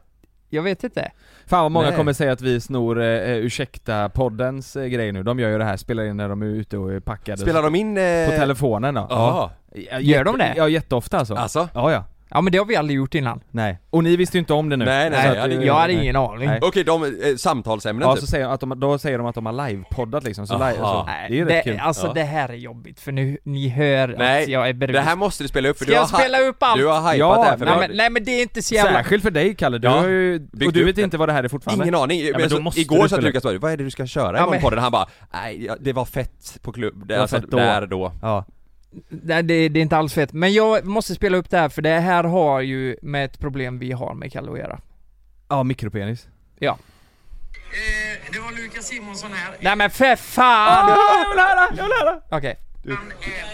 Speaker 1: jag vet inte.
Speaker 3: Fan vad många
Speaker 2: Nej.
Speaker 3: kommer säga att vi snor eh, eh, Ursäkta-poddens eh, grej nu, de gör ju det här, spelar in när de är ute och är packade
Speaker 2: Spelar de in... Eh...
Speaker 3: På telefonen då?
Speaker 2: Jaha.
Speaker 3: Ja,
Speaker 1: Gör de det?
Speaker 3: Ja jätteofta alltså.
Speaker 2: Alltså?
Speaker 3: Ja ja.
Speaker 1: Ja men det har vi aldrig gjort innan.
Speaker 3: Nej. Och ni visste ju inte om det nu.
Speaker 2: Nej, nej,
Speaker 3: Så
Speaker 2: nej, jag hade
Speaker 3: eh,
Speaker 2: ingen-
Speaker 1: Jag hade ingen aning.
Speaker 3: Nej.
Speaker 2: Okej, de, eh, samtalsämnen
Speaker 3: Ja,
Speaker 2: typ.
Speaker 3: så säger de att de, då säger de att de har livepoddat liksom, så, live,
Speaker 2: Aha.
Speaker 3: så
Speaker 1: Nej,
Speaker 3: det är ju rätt kul.
Speaker 1: Alltså
Speaker 2: Ja.
Speaker 1: det här är jobbigt för nu, ni hör att
Speaker 2: Nej,
Speaker 1: jag är berusad.
Speaker 2: det här måste du spela upp för
Speaker 1: Ska
Speaker 2: du
Speaker 1: jag
Speaker 2: har,
Speaker 1: spela upp allt?
Speaker 2: Du har hypat
Speaker 3: Ja,
Speaker 2: det här för
Speaker 1: nej,
Speaker 2: mig.
Speaker 1: men, nej men det är inte så jävla...
Speaker 3: Särskilt för dig Kalle, du
Speaker 2: Ja.
Speaker 3: har ju, och
Speaker 2: Byggt
Speaker 3: du
Speaker 2: upp
Speaker 3: vet
Speaker 2: det.
Speaker 3: inte vad det här är fortfarande.
Speaker 2: Ingen aning,
Speaker 3: men
Speaker 2: men
Speaker 3: då
Speaker 2: så-
Speaker 3: måste
Speaker 2: igår
Speaker 3: du
Speaker 2: satt
Speaker 3: spela.
Speaker 2: Lukas bara 'Vad är det du ska köra
Speaker 1: Ja,
Speaker 2: imorgon
Speaker 1: men-
Speaker 2: podden?' Han bara 'Nej, ja, det var fett på klubb, det,
Speaker 3: var
Speaker 2: alltså,
Speaker 3: fett då."
Speaker 2: där då'
Speaker 3: Ja.
Speaker 1: Nej det, det är inte alls fett. Men jag måste spela upp det här för det här har ju med ett problem vi har med Kalle att göra.
Speaker 3: ja, mikropenis.
Speaker 1: Ja.
Speaker 6: Eh, Det var Lukas Simonsson här.
Speaker 1: Nej men för fan!
Speaker 3: Ah, jag vill höra! Jag vill höra!
Speaker 1: Okej.
Speaker 6: Eh,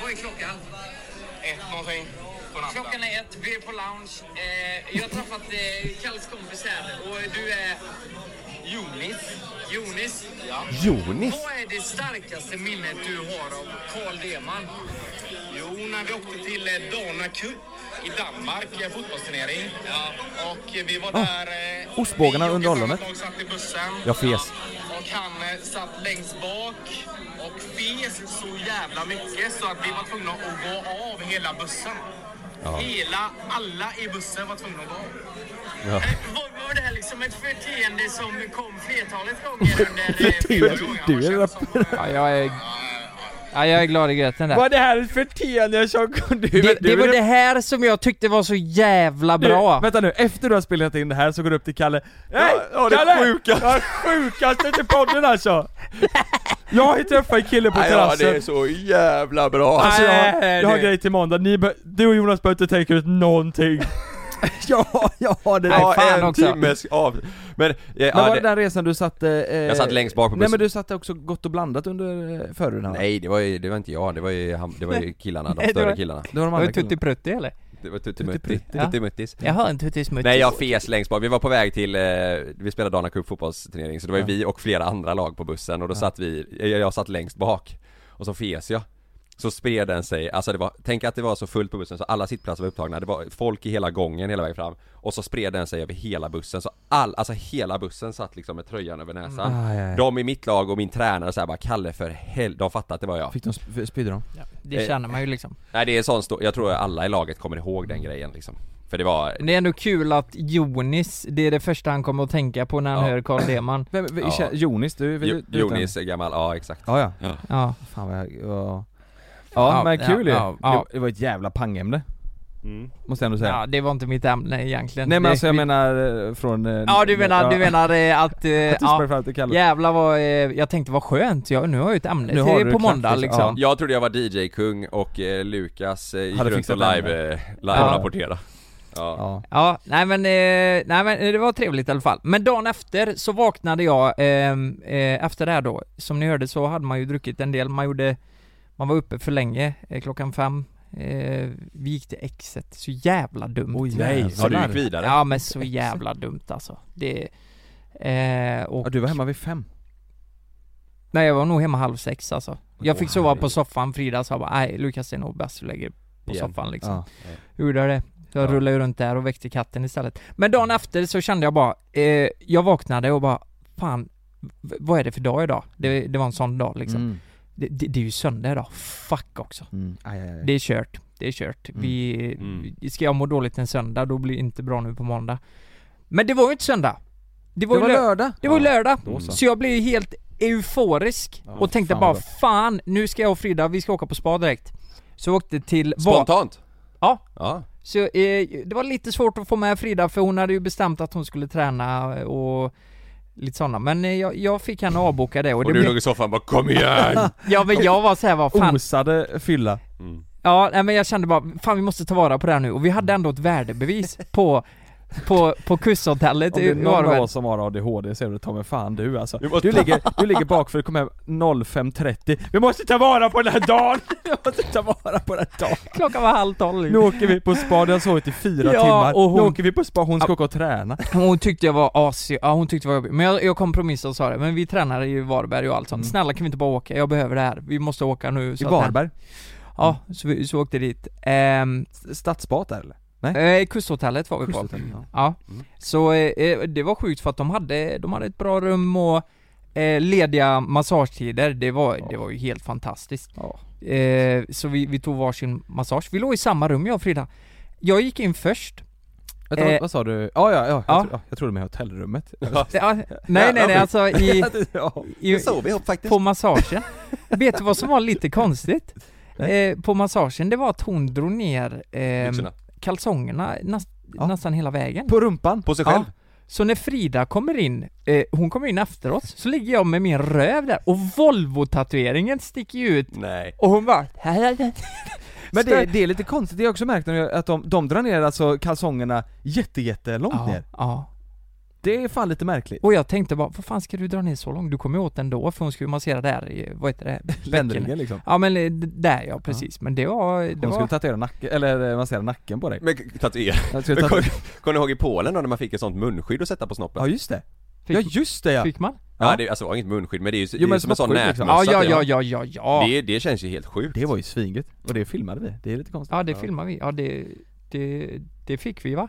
Speaker 6: vad är klockan? Ett någonting. Klockan är ett, vi är på lounge. Eh, jag har träffat eh, Kalles kompis här och du är... Jonis. Jonis. Ja.
Speaker 2: Jonis?
Speaker 6: Vad är det starkaste minnet du har av Carl Deman? Jo, när vi åkte till eh, Dana Cup i Danmark i en fotbollsturnering. Ja. Och eh, vi var där... Eh,
Speaker 3: ostbågarna
Speaker 6: vi och
Speaker 3: under
Speaker 6: ett
Speaker 3: åldernet.
Speaker 6: annat lag satt i bussen.
Speaker 3: Jag fes.
Speaker 6: Och han eh, satt längst bak och fes så jävla mycket så att vi var tvungna att gå av hela bussen. Hela, alla i bussen var tvungna att gå av. Eh, Var, var det här liksom ett förteende som kom flertalet gånger under eh, förra gången?
Speaker 3: du
Speaker 6: Vad
Speaker 3: är
Speaker 6: känns som, eh,
Speaker 1: Ja, jag är... Ja, jag är glad i gröten där.
Speaker 3: Vad är det här för teende som du,
Speaker 1: Det, det var det här som jag tyckte var så jävla bra.
Speaker 3: Eh, Vänta nu, efter du har spelat in det här så går du upp till Kalle Nej!
Speaker 2: ja, det är
Speaker 3: Kalle!
Speaker 2: sjukast.
Speaker 3: Jag är sjukaste till podden alltså! Jag har ju träffat en kille på
Speaker 2: Nej, ja, det
Speaker 3: terrassen
Speaker 2: är så jävla bra!
Speaker 3: Alltså jag, har-
Speaker 1: Nej,
Speaker 3: jag har
Speaker 1: det-
Speaker 3: grejer till måndag, Ni bör, du och Jonas behöver inte tänka ut någonting Ja, jag har det
Speaker 1: Nej,
Speaker 2: ja,
Speaker 1: fan
Speaker 2: en
Speaker 1: också.
Speaker 2: timmes av... Men, eh,
Speaker 3: Men
Speaker 2: ja,
Speaker 3: var det
Speaker 2: det,
Speaker 3: den resan du satt... Eh, jag
Speaker 2: satt längst bak på
Speaker 3: Nej
Speaker 2: bussen.
Speaker 3: men du satt också gott och blandat under eh, förhuden här, va?
Speaker 2: nej det var ju, det var inte jag, det var ju, han, det var ju killarna, de
Speaker 1: Nej, det
Speaker 2: större
Speaker 1: var-
Speaker 2: killarna
Speaker 3: Det var de
Speaker 1: Var
Speaker 3: andra
Speaker 1: det Tutti
Speaker 3: killarna.
Speaker 1: Prutti eller?
Speaker 2: Det var Tuttimutti,
Speaker 3: Tuttimutti.
Speaker 1: Ja.
Speaker 2: Tuttimuttis
Speaker 1: Jag har en Tutti Smutti.
Speaker 2: Nej jag fes längst bak, vi var på väg till, eh, vi spelade Dana Cup fotbollsturnering så det var ju vi och flera andra lag på bussen och då satt vi, eh, jag satt längst bak och så fes jag så spred den sig, alltså det var, tänk att det var så fullt på bussen så alla sittplatser var upptagna, det var folk i hela gången hela vägen fram Och så spred den sig över hela bussen, så all, alltså hela bussen satt liksom med tröjan över näsan
Speaker 3: Ah, ja, ja.
Speaker 2: De i mitt lag och min tränare såhär bara 'Kalle för hel... de fattade att det var jag'
Speaker 3: Fick de, sp- spydde de?
Speaker 1: Det känner man ju liksom.
Speaker 2: Nej det är sån stor, jag tror alla i laget kommer ihåg den grejen liksom För det var,
Speaker 1: Men Det är ändå kul att Jonis, det är det första han kommer att tänka på när han
Speaker 2: Ja.
Speaker 1: hör Carl Deman.
Speaker 3: Vem, vem,
Speaker 2: Ja.
Speaker 3: kä- Jonis, du, vi-
Speaker 2: Jo-
Speaker 3: du
Speaker 2: Jonis är gammal, ja exakt
Speaker 3: Ja, ja.
Speaker 1: Ja.
Speaker 3: Fan vad jag... Ja, ja men
Speaker 1: ja,
Speaker 3: kul ju.
Speaker 1: ja, ja.
Speaker 3: Det, det var ett jävla pangämne. Måste jag ändå säga.
Speaker 1: ja, det var inte mitt ämne egentligen.
Speaker 3: Nej men
Speaker 1: Det-
Speaker 3: alltså jag
Speaker 1: vi-
Speaker 3: menar eh, från... eh,
Speaker 1: Ja du menar, du menar eh, att... eh,
Speaker 3: Att du sprang
Speaker 1: ja,
Speaker 3: fram till Kalle.
Speaker 1: jävlar vad... eh, Jag tänkte vad skönt, jag, nu har jag ju ett ämne
Speaker 3: Nu har
Speaker 1: till
Speaker 3: du
Speaker 1: på
Speaker 3: klart,
Speaker 1: måndag
Speaker 3: liksom.
Speaker 1: liksom.
Speaker 3: Ja.
Speaker 2: Jag trodde jag var DJ-kung och eh, Lukas eh, gick
Speaker 3: Hade
Speaker 2: runt
Speaker 3: fixat
Speaker 2: och live,
Speaker 3: det.
Speaker 2: eh, live
Speaker 1: Ja.
Speaker 2: rapportera. Ja.
Speaker 3: Ja.
Speaker 1: Ja, nej men, eh, nej men eh, det var trevligt i alla fall. Men dagen efter så vaknade jag, ehm, eh, efter det här då, som ni hörde så hade man ju druckit en del, man gjorde, man var uppe för länge, eh, klockan fem, eh, vi gick till exet, så jävla dumt.
Speaker 3: Oj,
Speaker 2: Nej,
Speaker 3: jävlar.
Speaker 2: ja, du gick vidare?
Speaker 1: ja men så jävla dumt alltså. Det, eh, och,
Speaker 3: Ja, du var hemma vid fem.
Speaker 1: nej jag var nog hemma halv sex alltså. Jag fick
Speaker 2: Åh,
Speaker 1: sova på
Speaker 2: herregud.
Speaker 1: soffan, Frida sa bara nej Lukas det är nog bäst du lägger på
Speaker 2: Igen.
Speaker 1: soffan liksom.
Speaker 3: Ja.
Speaker 1: Gjorde jag det. Jag
Speaker 2: Ja.
Speaker 1: rullade ju runt där och väckte katten istället. Men dagen efter så kände jag bara, eh, jag vaknade och bara, fan, v- vad är det för dag idag? Det, det var en sån dag liksom.
Speaker 3: Mm.
Speaker 1: Det, det, det är ju söndag idag, fuck också.
Speaker 3: Mm. Aj, aj, aj.
Speaker 1: Det är kört, det är kört. Vi,
Speaker 2: Mm.
Speaker 1: vi- ska jag må dåligt en söndag, då blir det inte bra nu på måndag. Men det var ju inte söndag. Det var,
Speaker 3: Det var
Speaker 1: ju lö-
Speaker 3: lördag.
Speaker 1: det var ju lördag.
Speaker 3: Då så.
Speaker 1: så. jag blev ju helt euforisk
Speaker 3: Alltså. Ja,
Speaker 1: och tänkte
Speaker 3: fan
Speaker 1: bara,
Speaker 3: vad gott.
Speaker 1: fan, nu ska jag och Frida, vi ska åka på spa direkt. Så jag åkte till... Va-
Speaker 2: Spontant?
Speaker 1: Ja,
Speaker 2: Ja.
Speaker 1: så eh, det var lite svårt att få med Frida för hon hade ju bestämt att hon skulle träna och lite sådana. Men eh, jag, jag fick henne avboka det och,
Speaker 2: Och,
Speaker 1: det
Speaker 2: du
Speaker 1: blev,
Speaker 2: låg i soffan bara 'Kom igen!'
Speaker 1: Ja men jag var såhär, vad fan.
Speaker 3: Osade Mm. fylla.
Speaker 1: Ja nej, men jag kände bara, fan vi måste ta vara på det här nu. Och vi hade ändå ett värdebevis på, på, på kusshotellet.
Speaker 3: Om det är
Speaker 1: i- var
Speaker 3: någon
Speaker 1: det väl.
Speaker 3: av oss som har ADHD så är det ta mig fan du alltså.
Speaker 2: Du
Speaker 3: Du,
Speaker 2: måste-
Speaker 3: ligger, du ligger bakför, kom hem 05.30. Vi måste ta vara på den här dagen! Vi måste ta vara på den här dagen.
Speaker 1: Klockan var halv tolv.
Speaker 3: Nu åker vi på spa, du har sovit i fyra
Speaker 1: Ja,
Speaker 3: timmar.
Speaker 1: och hon-
Speaker 3: Nu åker vi på spa, hon ska åka och träna.
Speaker 1: Hon tyckte jag var asig, ja hon tyckte jag var jobbig. Men jag, jag kompromissade och sa det, men vi tränar i Varberg och allt sånt. Snälla kan vi inte bara åka? Jag behöver det här. Vi måste åka nu.
Speaker 3: I
Speaker 1: så att-
Speaker 3: Varberg.
Speaker 1: Ja, så vi så åkte dit. Ehm,
Speaker 3: Stadsbat där eller?
Speaker 1: Eh, kusthotellet var vi på.
Speaker 3: Kusthotellet, ja.
Speaker 1: Ja. Så eh, eh, det var sjukt för att de hade, de hade ett bra rum och eh, lediga massagetider. Det var, det var ju helt fantastiskt.
Speaker 3: Ja.
Speaker 1: Eh, så vi, vi tog varsin massage. Vi låg i samma rum jag och Frida. Jag gick in först.
Speaker 3: Vänta, vad-
Speaker 1: Eh,
Speaker 3: vad sa du? Ja, ja, ja,
Speaker 1: ja.
Speaker 3: jag, tro, ja jag trodde med hotellrummet
Speaker 1: Ja, nej, nej, nej, alltså i...
Speaker 3: ja.
Speaker 1: i
Speaker 2: sov ihop faktiskt
Speaker 1: på massagen. Vet du vad som var lite konstigt? Eh, på massagen, det var att hon drog ner eh,
Speaker 2: Byxorna.
Speaker 1: kalsongerna nas-
Speaker 3: Ja.
Speaker 1: nästan hela vägen.
Speaker 3: På rumpan?
Speaker 2: På sig själv?
Speaker 1: Så när Frida kommer in, eh, hon kommer in efter oss, så ligger jag med min röv där och Volvo-tatueringen sticker ju ut
Speaker 2: Nej
Speaker 1: och hon bara
Speaker 3: Men det, det är lite konstigt, det har jag också märkt när jag, att de, de drar ner alltså kalsongerna jätte, jätte långt
Speaker 1: ja,
Speaker 3: ner
Speaker 1: ja.
Speaker 3: Det är fan lite märkligt
Speaker 1: Och jag tänkte bara, vad fan ska du dra ner så långt? Du kommer ju åt ändå för hon skulle massera där i, vad heter det? Bäckenet.
Speaker 3: Ländryggen liksom
Speaker 1: Ja men eh, d- där ja, precis. Men det var... Det
Speaker 3: Hon
Speaker 1: var...
Speaker 3: skulle tatuera nacken, eller eh, massera nacken på dig
Speaker 2: Men k- tatuera
Speaker 3: Jag skulle
Speaker 2: Men kom-
Speaker 3: tatuera-
Speaker 2: Kommer ni ihåg i Polen då när man fick ett sånt munskydd att sätta på snoppen?
Speaker 3: Ja just det!
Speaker 1: Fick-
Speaker 3: Ja just det ja!
Speaker 1: Fick man?
Speaker 2: Ja, det, alltså det var inget munskydd men det är ju, det är
Speaker 3: men
Speaker 2: ju som en sån
Speaker 3: snoppskydd
Speaker 2: nätmössa
Speaker 3: liksom.
Speaker 1: Ja,
Speaker 2: till
Speaker 1: ja,
Speaker 2: och
Speaker 1: ja,
Speaker 2: med.
Speaker 1: ja, ja, ja.
Speaker 2: Det, det känns ju helt sjukt
Speaker 3: Det var ju svinget, och det filmade vi, det är lite konstigt
Speaker 1: Ja det filmar vi, ja det, det, det fick vi va?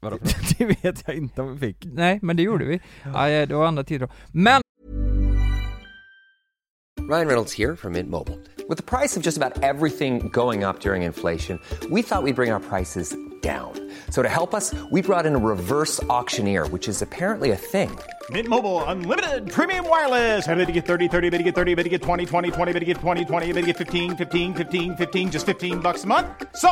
Speaker 2: Vadå för
Speaker 3: Det vet jag inte om vi fick
Speaker 1: Nej men det gjorde vi. Ja, ja, det var andra tider då. Men
Speaker 4: Ryan Reynolds here from Mint Mobile. With the price of just about everything going up during inflation, we thought we'd bring our prices down. So to help us, we brought in a reverse auctioneer, which is apparently a thing.
Speaker 7: Mint Mobile unlimited premium wireless. Ready to get 30, 30, bit to get 30, bit to get 20, 20, 20, bit to get 20, 20, bit to get 15, 15, 15, 15 just 15 bucks a month. So,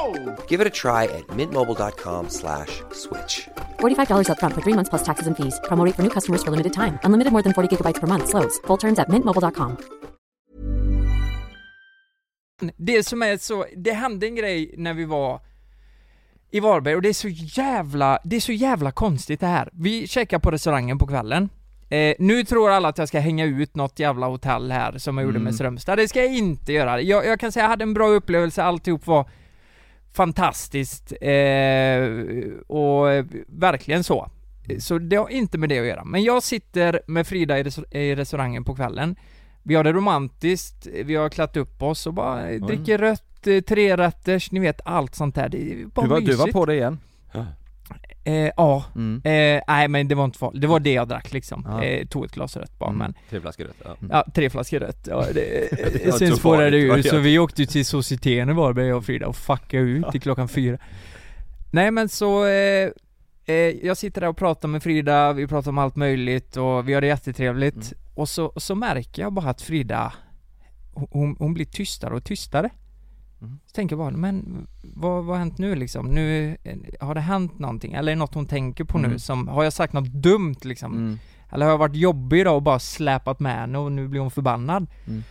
Speaker 4: Give it a try at mintmobile.com slash switch.
Speaker 5: $45 up front for three months plus taxes and fees. Promo rate for new customers for limited time. Unlimited more than 40 gigabytes per month. Slows. Full terms at mintmobile.com.
Speaker 1: det som är så, det hände en grej när vi var i Varberg och det är så jävla, det är så jävla konstigt det här. Vi checkar på restaurangen på kvällen. Eh, nu tror alla att jag ska hänga ut något jävla hotell här som jag gjorde med Strömstad. Det ska jag inte göra. Jag, jag kan säga jag hade en bra upplevelse, alltihop var fantastiskt eh, och eh, verkligen så. Så det har inte med det att göra. Men jag sitter med Frida i, res- i restaurangen på kvällen. Vi har det romantiskt, vi har klätt upp oss och bara eh, dricker rött, eh, trerätters, ni vet allt sånt där. Det är bara
Speaker 3: Du var, du var
Speaker 1: mysigt.
Speaker 3: på det igen
Speaker 1: Eh, ja.
Speaker 3: Mm.
Speaker 1: Eh, nej men det var inte farligt, det var det jag drack liksom.
Speaker 3: Ja.
Speaker 1: Eh, tog ett glas rött bara
Speaker 3: Mm.
Speaker 1: men,
Speaker 2: Tre flaskor rött, ja.
Speaker 1: ja tre flaskor rött. Ja, det,
Speaker 2: Mm. Det var
Speaker 1: sen
Speaker 2: inte så
Speaker 1: spårade det
Speaker 2: farligt,
Speaker 1: ur
Speaker 2: vad
Speaker 1: så
Speaker 2: jag-
Speaker 1: vi åkte ju till Societeten i Varberg jag och Frida och fuckade ut till klockan fyra. Nej men så, eh, eh, jag sitter där och pratar med Frida, vi pratar om allt möjligt och vi har det jättetrevligt.
Speaker 2: Mm.
Speaker 1: Och så, och så märker jag bara att Frida, hon, hon blir tystare och tystare.
Speaker 2: Mm.
Speaker 1: Så tänker jag bara, men vad, vad har hänt nu liksom? Nu, eh, har det hänt någonting? Eller är det något hon tänker på nu
Speaker 3: Mm.
Speaker 1: som, har jag sagt något dumt liksom? Eller har jag varit jobbig idag och bara släpat med henne och nu blir hon förbannad?
Speaker 3: Mm.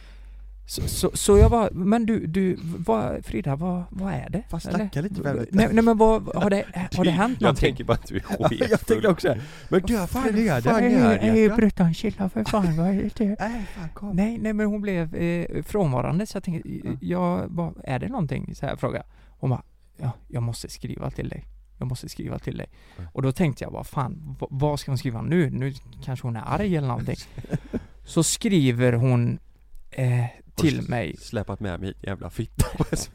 Speaker 1: Så, så, så jag bara, men du, du, vad, Frida, vad, vad är det?
Speaker 3: Fast
Speaker 1: Eller?
Speaker 3: snacka lite med mig.
Speaker 1: Nej, nej men vad, har det, har det hänt
Speaker 2: Jag
Speaker 1: någonting?
Speaker 2: tänker bara att du är
Speaker 3: Ja, jag tänkte
Speaker 2: sketfull
Speaker 3: också det. Men du har fan röda
Speaker 1: Hej bruttan, chilla för fan, vad är det?
Speaker 3: Nej fan kom
Speaker 1: Nej, nej men hon blev eh, frånvarande så jag tänkte, jag bara, är det någonting? Så här fråga. Hon bara, ja, jag måste skriva till dig. Jag måste skriva till dig. Och då tänkte jag bara, fan, v- vad ska hon skriva nu? Nu kanske hon är arg eller någonting. Så skriver hon eh, till mig.
Speaker 2: Släpat med mig jävla fitta på sms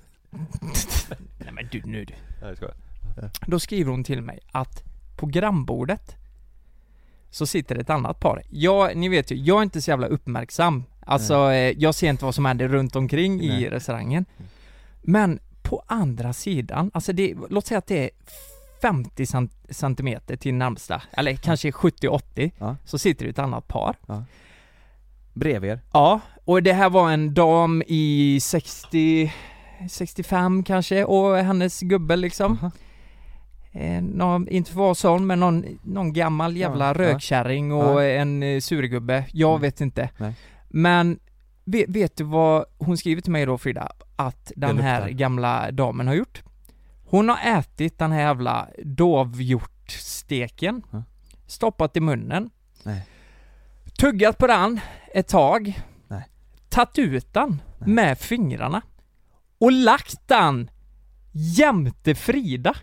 Speaker 1: Nej men du, nu du.
Speaker 2: Nej jag skojar.
Speaker 1: Då skriver hon till mig att på grannbordet så sitter ett annat par. Jag, ni vet ju, jag är inte så jävla uppmärksam. Alltså, eh, jag ser inte vad som händer runt omkring i
Speaker 3: Nej.
Speaker 1: restaurangen.
Speaker 2: Mm.
Speaker 1: Men på andra sidan, alltså det, låt säga att det är 50 cent- centimeter till närmsta, eller kanske 70-80,
Speaker 3: Ja.
Speaker 1: så sitter det ett annat par.
Speaker 3: Bredvid er
Speaker 1: Ja, och det här var en dam i 60, 65 kanske och hennes gubbe liksom. Eh, någon, inte för att vara sån men någon, någon gammal jävla
Speaker 3: Ja, ja.
Speaker 1: rökkärring och en eh, surgubbe. Jag
Speaker 3: Mm.
Speaker 1: vet inte.
Speaker 3: Nej.
Speaker 1: Men vet, vet du vad hon skriver till mig då Frida? Att den
Speaker 3: Det
Speaker 1: här
Speaker 3: luktar.
Speaker 1: gamla damen har gjort? Hon har ätit den här jävla dovhjortsteken,
Speaker 3: Ja.
Speaker 1: stoppat i munnen,
Speaker 3: Nej.
Speaker 1: tuggat på den ett tag,
Speaker 3: Nej.
Speaker 1: tagit ut den med fingrarna och lagt den jämte Frida.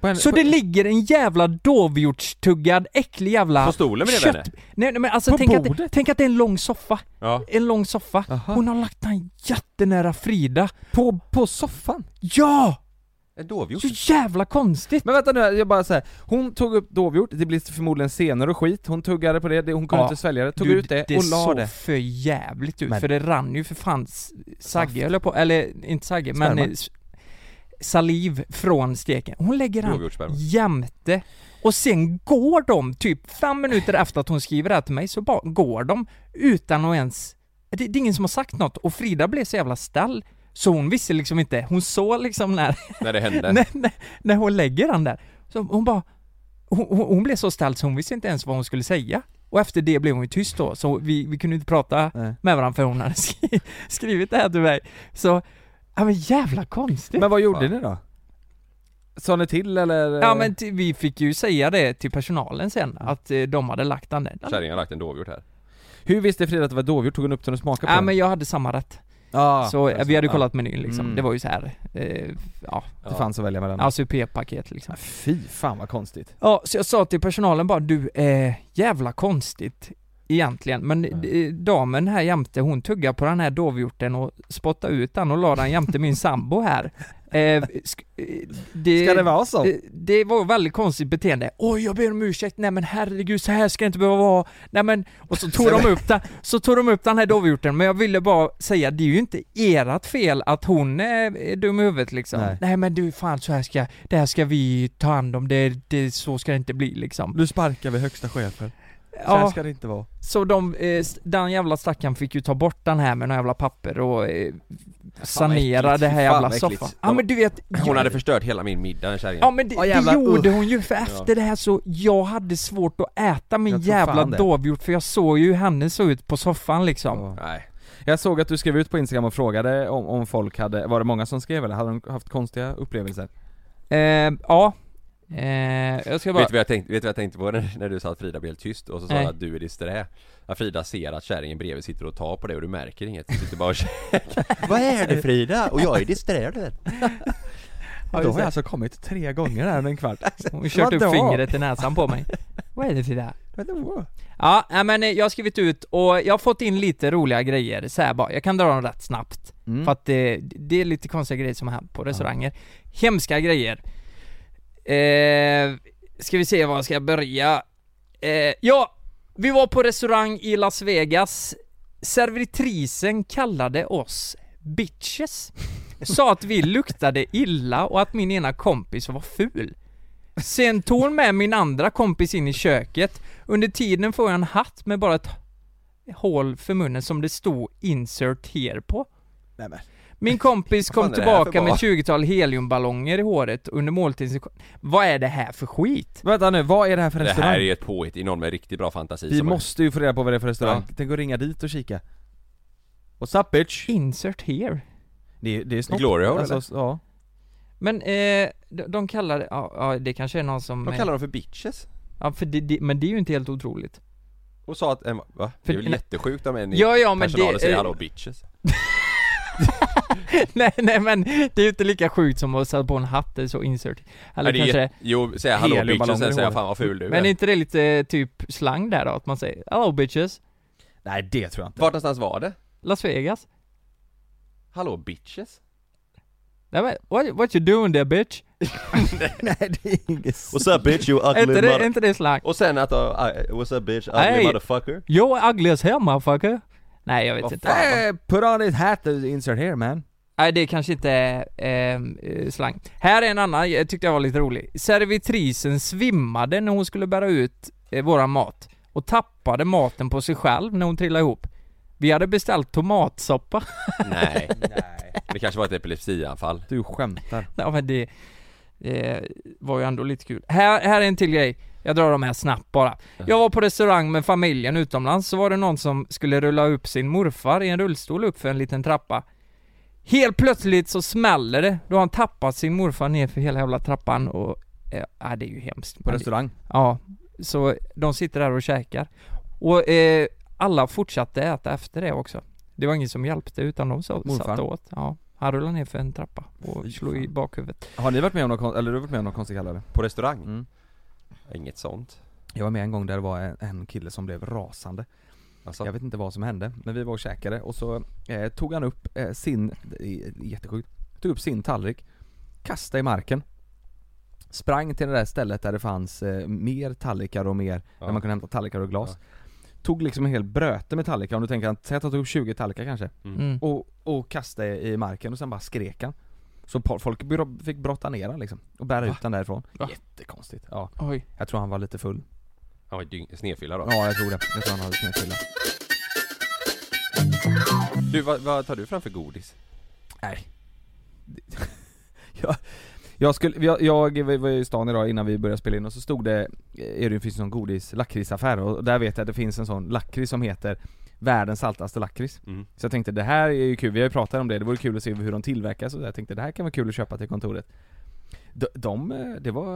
Speaker 3: På en-
Speaker 1: Så
Speaker 3: på-
Speaker 1: det ligger en jävla dovhjortstuggad, äcklig jävla...
Speaker 2: På stolen bredvid henne?
Speaker 1: Nej, nej men alltså
Speaker 3: På
Speaker 1: tänk att, det,
Speaker 3: bordet?
Speaker 1: tänk att det är en lång soffa.
Speaker 2: Ja
Speaker 1: En lång soffa.
Speaker 3: Aha.
Speaker 1: Hon har lagt den jättenära Frida.
Speaker 3: på, på soffan?
Speaker 1: Ja!
Speaker 2: En dovhjort?
Speaker 1: Så jävla konstigt!
Speaker 3: Men vänta nu, jag bara säger Hon tog upp dovhjort, det blir förmodligen senor och skit, hon tuggade på det, det hon kunde
Speaker 1: Ja.
Speaker 3: inte svälja det, tog
Speaker 1: Du,
Speaker 3: ut det,
Speaker 1: det
Speaker 3: och la
Speaker 1: såg
Speaker 3: det
Speaker 1: för jävligt ut,
Speaker 3: Men-
Speaker 1: för det rann ju för fan s- Sagge höll jag på, eller inte Sagge men...
Speaker 3: Sperma.
Speaker 1: eh, s- saliv från steken. Hon lägger han
Speaker 2: Oavgjort sperma.
Speaker 1: jämte. Och sen går de, typ fem minuter efter att hon skriver det här till mig, så bara går de utan att ens... Det, det är ingen som har sagt något och Frida blev så jävla stall så hon visste liksom inte, hon såg liksom när,
Speaker 2: När det hände.
Speaker 1: när, när, när hon lägger han där. Så hon bara... Hon, hon hon blev så ställd så hon visste inte ens vad hon skulle säga. Och efter det blev hon ju tyst då, så vi, vi kunde inte prata
Speaker 3: Nej.
Speaker 1: med varandra för hon hade skri- skrivit det här till mig. Så, ja men jävla konstigt.
Speaker 3: Men vad gjorde
Speaker 2: Fan.
Speaker 3: ni då? Sa ni till eller?
Speaker 1: ja men t- vi fick ju säga det till personalen sen,
Speaker 3: Mm.
Speaker 1: att eh, de hade lagt den där.
Speaker 2: Kärringen har lagt en dovhjort här.
Speaker 3: Hur visste Frida att det var dovhjort? Tog hon upp den och smakade på
Speaker 1: Ja
Speaker 3: den?
Speaker 1: men jag hade samma rätt.
Speaker 3: Ja,
Speaker 1: så eh, vi hade
Speaker 3: ja.
Speaker 1: kollat menyn liksom,
Speaker 3: Mm.
Speaker 1: det var ju så här, eh, ja,
Speaker 3: Det fanns att välja mellan.
Speaker 1: ACP-paket liksom.
Speaker 3: Fy fan vad konstigt.
Speaker 1: Ja, så jag sa till personalen bara du, eh, jävla konstigt egentligen, men eh, damen här jämte hon tuggar på den här dovhjorten och spottade ut den och la den jämte min sambo här. Eh, sk- eh, det,
Speaker 3: Ska det vara så?
Speaker 1: eh, det var väldigt konstigt beteende. Oj, jag ber om ursäkt, nej men herregud, så här ska det inte behöva vara. Nej men, och så tog de upp den, så tog de upp den här dovhjorten, men jag ville bara säga, det är ju inte ert fel att hon är är dum i huvudet liksom.
Speaker 3: Nej.
Speaker 1: Nej, men du fan så här ska, det här ska vi ta hand om, det, det så ska det inte bli liksom.
Speaker 3: Nu sparkar vi högsta chefen.
Speaker 1: Ja,
Speaker 3: det inte vara.
Speaker 1: så de, eh, s- den jävla stackaren fick ju ta bort den här med några jävla papper och eh, sanera
Speaker 2: äckligt.
Speaker 1: det här
Speaker 2: Fy fan
Speaker 1: jävla
Speaker 2: vad äckligt.
Speaker 1: soffan. Ja men du vet,
Speaker 2: Hon hade förstört hela min middag den kärringen.
Speaker 1: Ja men det,
Speaker 3: Ja, jävlar,
Speaker 1: det gjorde hon ju för efter det här så, jag hade svårt att äta min
Speaker 3: Jag tror fan
Speaker 1: jävla
Speaker 3: det.
Speaker 1: dovhjort för jag såg ju hur henne såg ut på soffan liksom.
Speaker 3: Ja.
Speaker 2: Nej.
Speaker 3: Jag såg att du skrev ut på instagram och frågade om, om folk hade, var det många som skrev eller hade de haft konstiga upplevelser?
Speaker 1: Eh, ja. Eh, jag ska bara...
Speaker 2: Vet du vad jag tänkte, vet du vad jag tänkte på när, när du sa att Frida blev helt tyst och så sa
Speaker 1: Nej.
Speaker 2: du att du är disträ? Att Frida ser att kärringen bredvid sitter och tar på dig och du märker inget. Du sitter bara och Vad är det Frida? Och jag är disträ du vet.
Speaker 1: Ja, just det.
Speaker 3: alltså kommit tre gånger här under en kvart.
Speaker 1: Hon kört upp
Speaker 3: Vadå?
Speaker 1: fingret i näsan på mig. vad är det för det här? Ja, nej, men eh, jag har skrivit ut och jag har fått in lite roliga grejer så här bara. Jag kan dra dem rätt snabbt.
Speaker 3: Mm.
Speaker 1: För att det, det är lite konstiga grejer som har hänt på restauranger. Hemska grejer. Eh, ska vi se var jag ska börja. Eh, ja, vi var på restaurang i Las Vegas. Servitrisen kallade oss bitches. Sa att vi luktade illa och att min ena kompis var ful. Sen tog hon med min andra kompis in i köket. Under tiden får jag en hatt med bara ett hål för munnen som det stod 'insert here' på.
Speaker 3: Nej, men.
Speaker 1: Min kompis
Speaker 2: fan
Speaker 1: kom
Speaker 2: är det här för
Speaker 1: tillbaka med
Speaker 2: mat?
Speaker 1: 20-tal heliumballonger i håret under måltiden. Vad är det här för skit?
Speaker 3: Vänta nu, vad är det här för
Speaker 2: Det
Speaker 3: restaurang?
Speaker 2: här är ju ett påhitt i någon med riktigt bra fantasi
Speaker 3: Vi
Speaker 2: som-
Speaker 3: måste ju få reda på vad det är för restaurang, tänk att ringa dit och kika. What's up bitch?
Speaker 1: Insert here.
Speaker 3: Det, är- det är snott.
Speaker 2: Glory hole,
Speaker 3: alltså, ja.
Speaker 1: Men eh, de, de kallar det, ja, ja det kanske är någon som...
Speaker 2: De kallar dem för bitches.
Speaker 1: ja, för det, det, men det är ju inte helt otroligt.
Speaker 2: Och sa att, en- va? Det är väl
Speaker 1: För-
Speaker 2: jättesjukt om en i
Speaker 1: Ja, ja men
Speaker 2: personalen
Speaker 1: det...
Speaker 2: säger
Speaker 1: eh,
Speaker 2: hallå bitches.
Speaker 1: nej, nej men det är ju inte lika sjukt som att sätta på en hatt eller så, insert. Eller
Speaker 2: Nej, det är
Speaker 1: kanske...
Speaker 2: jätte- Jo, säga hallå
Speaker 3: heliumballonger
Speaker 2: bitches,
Speaker 3: i
Speaker 2: sen säga
Speaker 3: håret.
Speaker 2: fan vad ful du
Speaker 1: Men är
Speaker 2: är.
Speaker 1: inte det lite eh, typ slang där då? Att man säger 'Hello bitches'
Speaker 3: Nej det tror jag inte.
Speaker 2: Vart någonstans var det?
Speaker 1: Las Vegas?
Speaker 2: Hallå bitches?
Speaker 1: Nej men, what, what you doing there bitch?
Speaker 3: Nej det är inget
Speaker 2: What's up bitch you
Speaker 1: Är inte, det, är inte det slang?
Speaker 2: Och sen att, uh, I- what's up bitch, ugly
Speaker 1: Nej.
Speaker 2: motherfucker?
Speaker 1: Yo ugly as hell motherfucker Nej jag vet
Speaker 2: Vad
Speaker 1: inte
Speaker 3: Hey, Eh, put on this hat and insert here man.
Speaker 1: Nej det är kanske inte ehm, eh, slang Här är en annan, jag tyckte jag var lite rolig Servitrisen svimmade när hon skulle bära ut eh, våran mat Och tappade maten på sig själv när hon trillade ihop Vi hade beställt tomatsoppa
Speaker 2: Nej. Det kanske var ett epilepsianfall.
Speaker 3: Du skämtar.
Speaker 1: Ja men det eh, var ju ändå lite kul. Här, här är en till grej. Jag drar de här snabbt bara. Jag var på restaurang med familjen utomlands, så var det någon som skulle rulla upp sin morfar i en rullstol upp för en liten trappa. Helt plötsligt så smäller det, då har han tappat sin morfar ner för hela jävla trappan och... eh, Ja, det är ju hemskt.
Speaker 3: På
Speaker 1: Men-
Speaker 3: restaurang.
Speaker 1: Ja, så de sitter där och käkar. Och eh, alla fortsatte äta efter det också. Det var ingen som hjälpte utan de så,
Speaker 3: Morfar.
Speaker 1: satt åt. Ja, han rullade ner för en trappa och
Speaker 3: Fy
Speaker 1: slog i
Speaker 3: fan.
Speaker 1: bakhuvudet.
Speaker 3: Har ni varit med om något konstigt, eller du har varit med om något konstigt kallare?
Speaker 2: På restaurang?
Speaker 3: Mm.
Speaker 2: Inget sånt.
Speaker 3: Jag var med en gång där det var en, en kille som blev rasande.
Speaker 2: Alltså,
Speaker 3: Jag vet inte vad som hände, men vi var och käkade och så eh, tog han upp eh, sin, det är jättesjukt, tog upp sin tallrik, kastade i marken, sprang till det där stället där det fanns eh, mer tallrikar och mer, där man kunde hämta tallrikar och glas. Tog liksom en hel bröte med tallrikar, om du tänker, han- säg att han tog upp 20 tallrikar kanske,
Speaker 1: Mm.
Speaker 3: och, och kastade i marken och sen bara skrek han. Så po- folk bro- fick brotta ner han liksom, och bära
Speaker 8: Va?
Speaker 3: ut han därifrån
Speaker 8: Va?
Speaker 3: Jättekonstigt, ja
Speaker 8: Oj.
Speaker 3: Jag tror han var lite full
Speaker 2: Han var ju dyng- snedfylla då.
Speaker 3: Ja jag tror det, jag tror han hade snedfylla
Speaker 2: Du, vad, vad tar du framför godis?
Speaker 3: Nej jag, jag, skulle, jag, jag var- var i stan idag innan vi började spela in och så stod det, eh, är det finns någon godis, lakritsaffär och där vet jag att det finns en sån lakrits som heter Världens saltaste lakrits
Speaker 2: Mm.
Speaker 3: Så jag tänkte det här är ju kul, vi har ju pratat om det, det vore kul att se hur de tillverkas och så jag tänkte det här kan vara kul att köpa till kontoret De, de eh, det var...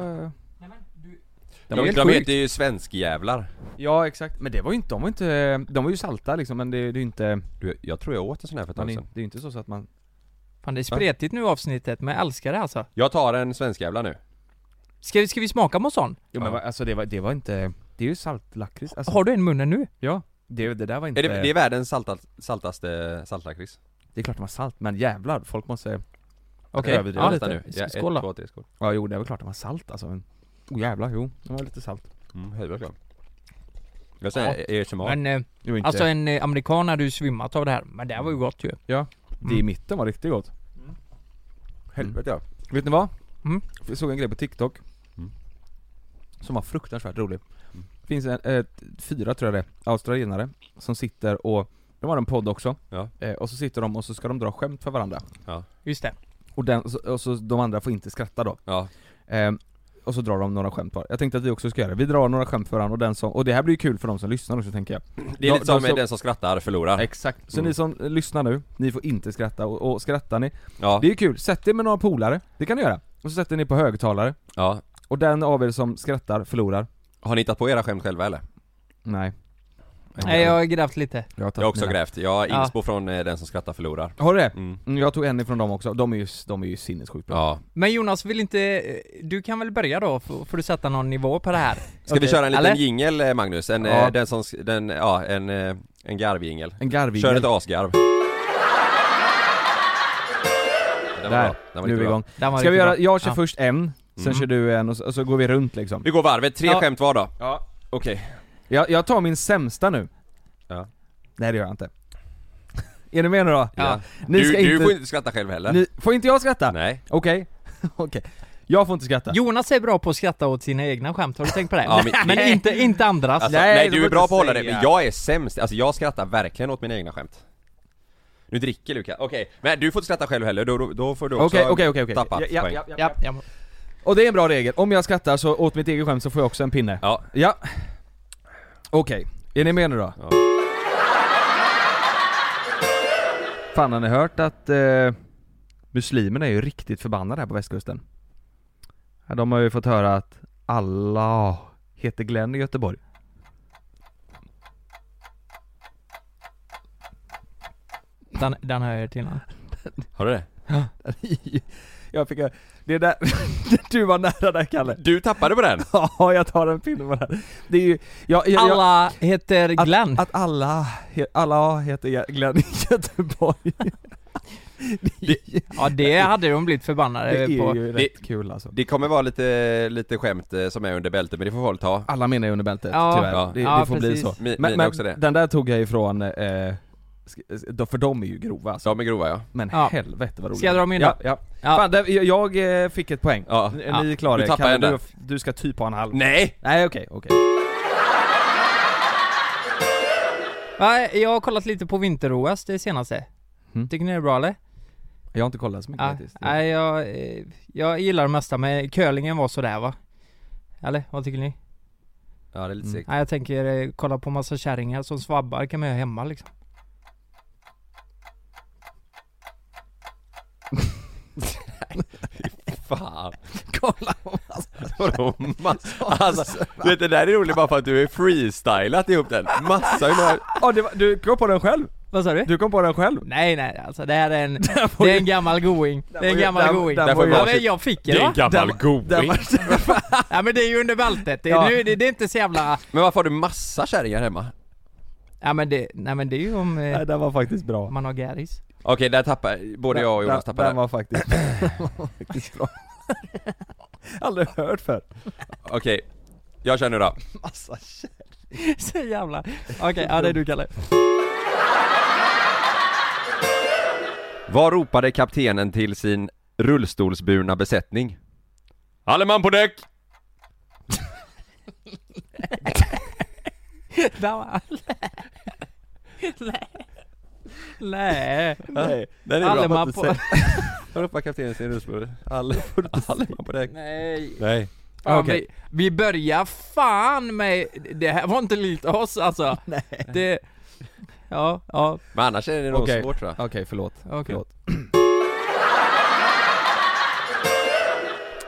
Speaker 2: De,
Speaker 3: Det var
Speaker 2: de,
Speaker 3: helt sjukt.
Speaker 2: heter ju svenskjävlar.
Speaker 3: Ja exakt, men det var ju inte, de var ju inte, de var ju salta liksom men det, det är ju inte,
Speaker 2: Du, jag tror jag åt en sån här för ett
Speaker 3: man
Speaker 2: tag
Speaker 3: är,
Speaker 2: sedan.
Speaker 3: det är ju inte så, så att man
Speaker 1: Fan det är spretigt nu i avsnittet, men jag älskar det alltså.
Speaker 2: Jag tar en svenskjävla nu.
Speaker 1: Ska vi, ska vi smaka på en sån?
Speaker 3: Jo men va- alltså det var, det var inte, det är ju saltlakrits alltså,
Speaker 1: Har du en i munnen nu?
Speaker 3: Ja, det, det där var inte,
Speaker 2: Är det, det är världens salta, saltaste saltlakrits.
Speaker 3: det är klart det var salt men jävlar, folk måste,
Speaker 1: Okej,
Speaker 3: Jag överdriver
Speaker 1: ja,
Speaker 2: Detta
Speaker 1: lite.
Speaker 2: nu. Ja, ett,
Speaker 1: Skål då.
Speaker 2: två, tre, skål.
Speaker 3: ja jo det var klart det var salt alltså men, oh, jävlar jo, det var lite salt
Speaker 2: Mm, helvete. Jag säger ja. ASMR.
Speaker 1: Men eh,
Speaker 3: jo, inte,
Speaker 1: alltså en eh, amerikan hade ju svimmat av det här, men det här var ju gott ju.
Speaker 3: ja, det
Speaker 2: Mm.
Speaker 3: i mitten var riktigt gott
Speaker 2: Helvete ja.
Speaker 3: Vet ni vad?
Speaker 1: Mm.
Speaker 3: Jag såg en grej på TikTok
Speaker 2: Mm.
Speaker 3: Som var fruktansvärt rolig Finns en, eh, fyra tror jag det är, australienare Som sitter och, de har en podd också
Speaker 2: Ja.
Speaker 3: eh, Och så sitter de och så ska de dra skämt för varandra
Speaker 1: Just det.
Speaker 3: Och, den, och, så, och så de andra får inte skratta då
Speaker 2: Ja.
Speaker 3: eh, Och så drar de några skämt var Jag tänkte att vi också ska göra det, vi drar några skämt för varandra och den som, och det här blir ju kul för de som lyssnar också tänker jag
Speaker 2: Det är
Speaker 3: De-
Speaker 2: lite som
Speaker 3: de som-
Speaker 2: den som skrattar förlorar.
Speaker 3: Exakt Så
Speaker 2: Mm.
Speaker 3: ni som lyssnar nu, ni får inte skratta och, och skrattar ni
Speaker 2: Ja.
Speaker 3: Det är ju kul, sätt er med några polare, det kan ni göra Och så sätter ni på högtalare
Speaker 2: ja.
Speaker 3: Och den av er som skrattar förlorar
Speaker 2: Har ni hittat på era skämt själva eller?
Speaker 3: Nej
Speaker 1: Nej jag har grävt lite.
Speaker 3: jag har, tagit
Speaker 2: Jag har också
Speaker 3: mina.
Speaker 2: grävt. Jag har
Speaker 1: Ja.
Speaker 2: inspo från eh, den som skrattar förlorar.
Speaker 3: Har du det?
Speaker 2: Mm.
Speaker 3: Mm, Jag tog en ifrån dem också, de är ju, de är ju sinnessjukt bra
Speaker 2: Ja.
Speaker 1: Men Jonas vill inte, eh, du kan väl börja då, får får du sätta någon nivå på det här?
Speaker 2: Ska vi köra en liten
Speaker 1: Eller?
Speaker 2: jingel eh, Magnus? En, eh,
Speaker 3: Ja.
Speaker 2: den som, sk- den, ja, en, eh, en garvjingel.
Speaker 3: En garvig
Speaker 2: Kör ett asgarv. Den var
Speaker 3: Där,
Speaker 2: bra.
Speaker 3: nu
Speaker 2: Den var
Speaker 3: är
Speaker 2: riktigt
Speaker 3: vi
Speaker 2: bra.
Speaker 3: igång
Speaker 1: Den var
Speaker 3: Ska vi
Speaker 1: riktigt
Speaker 3: göra,
Speaker 1: bra.
Speaker 3: jag kör
Speaker 1: Ja.
Speaker 3: först en, sen
Speaker 2: Mm.
Speaker 3: kör du en och så, och så går vi runt liksom
Speaker 2: Vi går varvet, tre
Speaker 1: Ja.
Speaker 2: skämt var då.
Speaker 3: Ja
Speaker 2: Okej.
Speaker 3: Jag, jag tar min sämsta nu
Speaker 2: Ja.
Speaker 3: Nej det gör jag inte Är ni med nu då?
Speaker 2: Ja.
Speaker 3: Ni
Speaker 2: Du,
Speaker 3: ska
Speaker 2: du
Speaker 3: inte,
Speaker 2: får inte skratta själv heller.
Speaker 3: ni, får inte jag skratta?
Speaker 2: Nej.
Speaker 3: Okej, okej Jag får inte skratta
Speaker 1: Jonas är bra på att skratta åt sina egna skämt, har du tänkt på det?
Speaker 2: Ja,
Speaker 1: men inte, inte andras.
Speaker 2: Alltså, nej,
Speaker 3: Nej, det
Speaker 2: du
Speaker 3: får
Speaker 2: är bra
Speaker 3: du
Speaker 2: på att hålla det,
Speaker 3: säga.
Speaker 2: men jag är sämst. Alltså jag skrattar verkligen åt mina egna skämt. Nu dricker Lukas, okej. Men du får inte skratta själv heller, då, då, då får du också
Speaker 3: Okej, okej, okej, okej
Speaker 2: tappat
Speaker 3: Ja,
Speaker 2: poäng.
Speaker 3: ja, ja,
Speaker 1: Ja,
Speaker 3: ja.
Speaker 1: ja.
Speaker 3: Och det är en bra regel, om jag skrattar så åt mitt eget skämt så får jag också en pinne
Speaker 2: Ja.
Speaker 3: Ja Okej, är ni med nu då?
Speaker 2: Ja.
Speaker 3: Fan har ni hört att eh, muslimerna är ju riktigt förbannade här på västkusten? Ja, de har ju fått höra att Allah heter Glenn i Göteborg
Speaker 1: Den, den har jag hört innan.
Speaker 2: Har du det?
Speaker 3: Jag fick höra- det är där, du var nära där Kalle
Speaker 2: Du tappade på den!
Speaker 3: Ja, jag tar en pinne på det här Det är ju, jag, jag, jag,
Speaker 1: Alla heter Glenn.
Speaker 3: Att, att alla, he, alla heter Glenn i Göteborg
Speaker 1: ja det hade de blivit förbannade
Speaker 3: Det är
Speaker 1: på.
Speaker 3: ju
Speaker 2: det-
Speaker 3: rätt kul alltså
Speaker 2: Det kommer vara lite, lite skämt eh, som är under bältet, men det får folk ta.
Speaker 3: Alla menar ju under bältet
Speaker 1: Ja.
Speaker 3: tyvärr,
Speaker 2: Ja.
Speaker 3: Det,
Speaker 1: Ja,
Speaker 3: det får
Speaker 1: precis.
Speaker 3: bli så
Speaker 2: Mi-
Speaker 3: Men,
Speaker 2: mina
Speaker 3: men
Speaker 2: också det.
Speaker 3: den där tog jag ifrån, eh, sk- då- för de är ju grova alltså.
Speaker 2: De är grova ja.
Speaker 3: Men
Speaker 1: Ja.
Speaker 3: helvete vad roligt
Speaker 1: Ska jag dra min då?
Speaker 3: Ja, ja.
Speaker 1: Ja.
Speaker 3: Fan, där, jag, jag eh, fick ett poäng
Speaker 2: Ja.
Speaker 3: Ni
Speaker 1: Ja.
Speaker 3: är klara,
Speaker 2: Du tappar
Speaker 3: Kalle,
Speaker 2: en där. Mm.
Speaker 3: du, du ska typ ha en halv
Speaker 2: Nej!
Speaker 3: Nej okej, okej
Speaker 1: Ja, jag har kollat lite på vinter-OS det senaste.
Speaker 3: Mm.
Speaker 1: Tycker ni det är bra eller?
Speaker 3: Jag har inte kollat så mycket
Speaker 1: Ja,
Speaker 3: faktiskt
Speaker 1: nej, jag, eh, jag gillar det mesta men curlingen var sådär va? Eller vad tycker ni?
Speaker 2: Ja det är lite
Speaker 3: Mm.
Speaker 2: segt.
Speaker 1: Nej jag tänker eh, kolla på massa kärringar som svabbar kan man göra hemma liksom.
Speaker 2: Fan.
Speaker 3: Kolla
Speaker 2: Vadå massa? Alltså, vet, det där är roligt bara för att du är freestylat ihop den. Massa hur många...
Speaker 3: Ja, det var, du kom på den själv!
Speaker 1: Vad sa du?
Speaker 3: Du kom på den själv!
Speaker 1: Nej nej alltså det här är en, det är en gammal going. Det är en
Speaker 3: ju-
Speaker 1: gammal
Speaker 3: där-
Speaker 1: going.
Speaker 3: där
Speaker 1: Ja
Speaker 2: var ju-
Speaker 1: men jag fick det va?
Speaker 2: gammal
Speaker 3: Den
Speaker 2: going.
Speaker 3: var,
Speaker 1: Ja men det är ju under bältet. Det,
Speaker 3: Ja.
Speaker 1: nu, det, det är inte så jävla...
Speaker 2: Men varför har du massa kärringar hemma?
Speaker 1: Ja men det, nej men det är ju om eh,
Speaker 3: nej, den var faktiskt bra
Speaker 1: man har gäris.
Speaker 2: Okej, där tappar både jag och Jonas
Speaker 3: den,
Speaker 2: tappar
Speaker 3: den
Speaker 2: där.
Speaker 3: var faktiskt, den var faktiskt bra Aldrig hört för.
Speaker 2: Okej, jag kör nu då.
Speaker 3: Massa shit.
Speaker 1: så jävla... Okej, ja det är du Kalle.
Speaker 2: Vad ropade kaptenen till sin rullstolsburna besättning. Alle man på däck!
Speaker 1: Nej. Nej.
Speaker 2: Nej, den
Speaker 1: Alle man på...
Speaker 2: Hör upp kaptenen sin rullstol. Alle, Alle man på däck.
Speaker 1: Nej.
Speaker 2: Nej.
Speaker 1: Ja,
Speaker 3: Okej.
Speaker 1: vi, vi börjar fan med... Det här var inte likt oss alltså. Nej. Det... Ja, ja,
Speaker 2: Men annars är det nog
Speaker 3: Okej,
Speaker 2: svårt tror jag.
Speaker 3: Okej, förlåt.
Speaker 1: okej.
Speaker 3: Förlåt.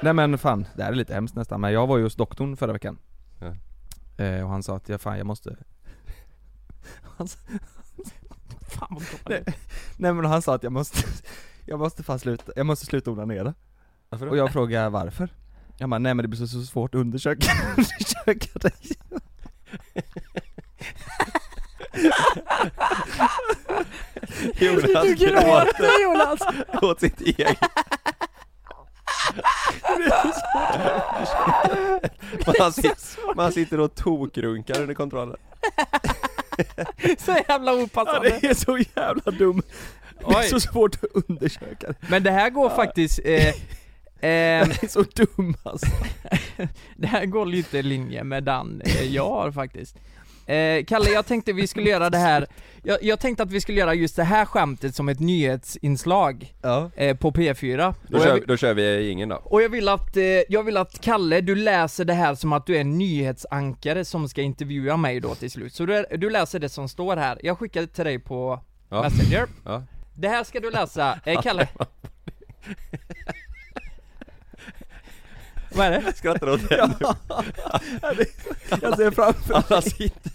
Speaker 3: Nej men fan, det här är lite hemskt nästan men jag var ju hos doktorn förra veckan
Speaker 2: Ja.
Speaker 3: eh, Och han sa att jag fan jag måste
Speaker 1: Fan vad
Speaker 3: Nej.
Speaker 1: galet.
Speaker 3: Nej men han sa att jag måste, jag måste fan sluta, jag måste sluta onanera
Speaker 2: Varför
Speaker 3: Och jag frågade varför Jag bara, nej men det blir så, så svårt att undersöka, undersöka dig
Speaker 2: Jonas
Speaker 1: Du gråter Jonas!
Speaker 2: gråter åt sitt eget. Man sitter, man sitter och tokrunkar under kontrollen.
Speaker 1: Så jävla opassande.
Speaker 3: är så jävla dum Det är
Speaker 1: Oj.
Speaker 3: så svårt att undersöka dig
Speaker 1: Men det här går faktiskt... Eh, ehm,
Speaker 3: Det är så dum alltså
Speaker 1: det här går lite i linje med den eh, jag har faktiskt. Eh, Kalle, jag tänkte vi skulle göra det här, jag, jag tänkte att vi skulle göra just det här skämtet som ett nyhetsinslag
Speaker 3: Ja
Speaker 1: eh, på P4.
Speaker 2: Då
Speaker 1: Och jag,
Speaker 2: kör,
Speaker 1: vi-
Speaker 2: då kör vi ingen då.
Speaker 1: och jag vill att, eh, jag vill att Kalle, du läser det här som att du är en nyhetsankare som ska intervjua mig då till slut. Så du, du läser det som står här, jag skickar det till dig på
Speaker 2: Ja.
Speaker 1: Messenger.
Speaker 2: Ja.
Speaker 1: Det här ska du läsa, eh, Kalle. Vad är det?
Speaker 2: Skrattar åt det nu.
Speaker 3: Alltså, Jag ser framför
Speaker 2: Alla sitter.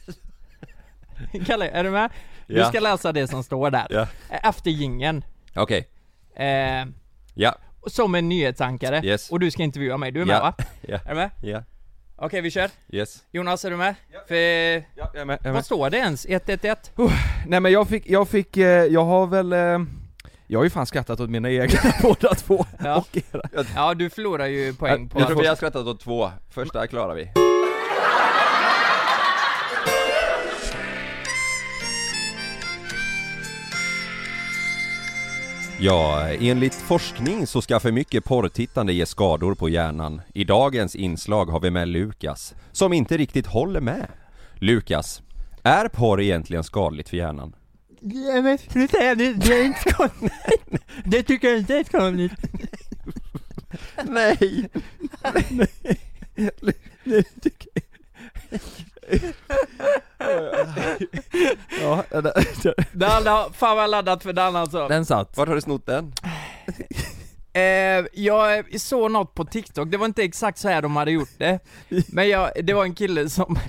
Speaker 1: Kalle, är du med? Du
Speaker 2: Ja.
Speaker 1: ska läsa det som står där. Eh,
Speaker 2: Ja.
Speaker 1: Efter jingeln.
Speaker 2: Okej.
Speaker 1: Eh,
Speaker 2: Ja.
Speaker 1: som en nyhetsankare.
Speaker 2: Yes.
Speaker 1: Och du ska intervjua mig. Du är med
Speaker 2: Ja.
Speaker 1: va?
Speaker 2: Ja.
Speaker 1: Är du med?
Speaker 2: Ja.
Speaker 1: Okej, vi kör.
Speaker 2: Yes.
Speaker 1: Jonas, är du med? För,
Speaker 3: Ja, jag är med, jag är med.
Speaker 1: vad står det ens? 111?
Speaker 3: Nej men jag fick, jag fick, eh, jag har väl eh, Jag har ju fan skrattat åt mina egna båda två
Speaker 1: Ja.
Speaker 3: och era
Speaker 1: Ja, du förlorar ju poäng på...
Speaker 2: Jag tror vi har skrattat åt två. Första klarar vi. Ja, enligt forskning så ska för mycket porrtittande ge skador på hjärnan. I dagens inslag har vi med Lukas, som inte riktigt håller med. Lukas, är porr egentligen skadligt för hjärnan?
Speaker 1: Ja, men nu säger jag det, det är inte skadligt. Det tycker jag inte är skadligt.
Speaker 2: Nej!
Speaker 3: Ja, den,
Speaker 1: Dan, har- fan vad jag laddat för Dan alltså.
Speaker 3: den satt
Speaker 2: Vart har du snott den?
Speaker 1: Eh, jag såg något på TikTok, det var inte exakt så här de hade gjort det Men jag, det var en kille som,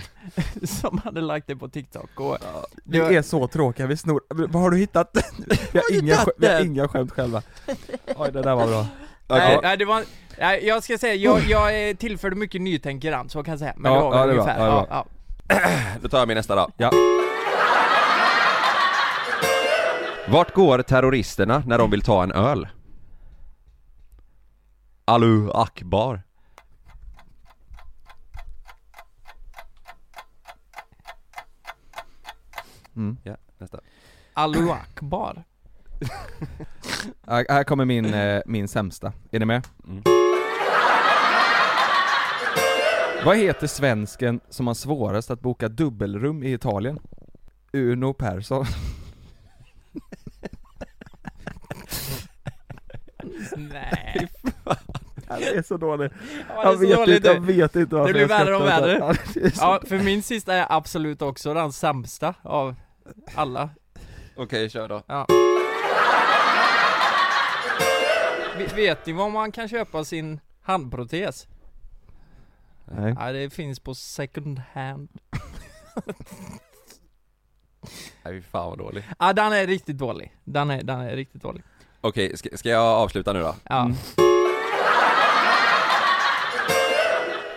Speaker 1: som hade lagt det på TikTok och
Speaker 3: Vi
Speaker 1: det var,
Speaker 3: är så tråkiga, vi snor, vad har du hittat? Vi har, inga, skä- vi har inga skämt själva Oj det där var bra
Speaker 1: nej,
Speaker 2: Okej.
Speaker 1: nej, det var, nej, jag ska säga, jag, jag eh, tillförde mycket nytänkerans, så kan jag säga Men
Speaker 3: Ja,
Speaker 1: det var väl
Speaker 3: ja, det är bra,
Speaker 1: ungefär,
Speaker 3: ja, det är
Speaker 1: ja, ja.
Speaker 3: bra.
Speaker 2: Då tar jag min nästa då.
Speaker 3: Ja,
Speaker 2: Vart går terroristerna när de vill ta en öl? Alu Akbar.
Speaker 3: Mm.
Speaker 2: Ja, nästa.
Speaker 1: Allahu Akbar
Speaker 3: här här kommer min, eh, min sämsta, är ni med?
Speaker 2: Mm.
Speaker 3: Vad heter svensken som har svårast att boka dubbelrum i Italien? Uno Persson
Speaker 1: Nej,
Speaker 3: Det är så dåligt
Speaker 1: ja, det är så dåligt
Speaker 3: jag
Speaker 1: nu.
Speaker 3: vet inte varför
Speaker 1: blir
Speaker 3: jag
Speaker 1: värre och
Speaker 3: skrattar.
Speaker 1: värre.
Speaker 3: Ja, det är så-
Speaker 1: Ja, för min sista är absolut också den sämsta av alla
Speaker 2: Okej, kör då.
Speaker 1: ja. Ve- Vet ni var man kan köpa sin handprotes?
Speaker 3: Nej.
Speaker 1: Ja, det finns på second hand.
Speaker 2: Nej, fy fan vad dålig.
Speaker 1: Ja, den är riktigt dålig. Den är, den är riktigt dålig.
Speaker 2: Okej, ska, ska jag avsluta nu då?
Speaker 1: Ja.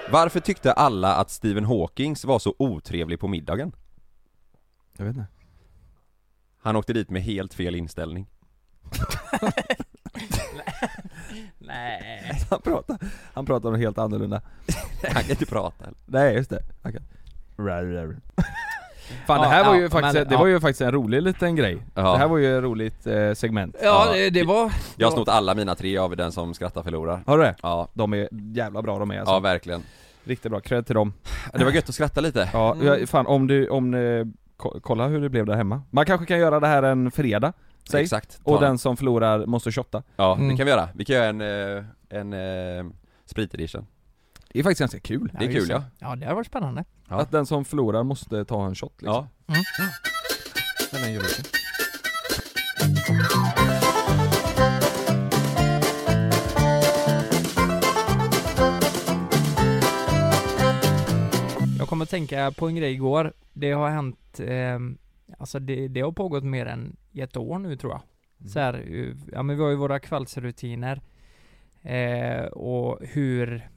Speaker 2: Varför tyckte alla att Stephen Hawkings var så otrevlig på middagen?
Speaker 3: Jag vet inte
Speaker 2: Han åkte dit med helt fel inställning.
Speaker 1: Nej.
Speaker 3: Han pratar, han pratar om helt annorlunda
Speaker 2: Han kan inte prata.
Speaker 3: Nej just det, okej okay. Fan det här
Speaker 1: Ja,
Speaker 3: var ju
Speaker 1: ja,
Speaker 3: faktiskt,
Speaker 1: men-
Speaker 3: det var ju faktiskt en rolig liten grej.
Speaker 2: Ja.
Speaker 3: Det här var ju ett roligt eh, segment.
Speaker 1: Ja,
Speaker 2: Ja.
Speaker 1: det, det var...
Speaker 2: Jag har snott alla mina tre av den som skrattar förlorar
Speaker 3: Har du det?
Speaker 2: Ja,
Speaker 3: De är jävla bra de är alltså.
Speaker 2: ja verkligen
Speaker 3: Riktigt bra, cred till dem.
Speaker 2: Det var gött att skratta lite
Speaker 3: Ja,
Speaker 1: Mm.
Speaker 3: jag- fan om du, om eh, ko- kolla hur det blev där hemma. Man kanske kan göra det här en fredag, säg.
Speaker 2: Exakt, Ta
Speaker 3: Och den som förlorar måste shotta.
Speaker 2: Ja, det
Speaker 1: Mm.
Speaker 2: kan vi göra. Vi kan göra en, eh, en eh, spritedition
Speaker 3: Det är faktiskt ganska kul.
Speaker 2: Det är kul ja.
Speaker 1: Ja, det har varit spännande.
Speaker 2: Ja.
Speaker 3: Att den som förlorar måste ta en shot liksom.
Speaker 2: ja.
Speaker 1: Mm.
Speaker 3: Men den gör vi inte.
Speaker 1: Jag kommer att tänka på en grej igår. Det har hänt, eh, alltså det, det har pågått mer än ett år nu tror jag. Så här, eh, ja men vi har ju våra kvällsrutiner. Eh, och hur,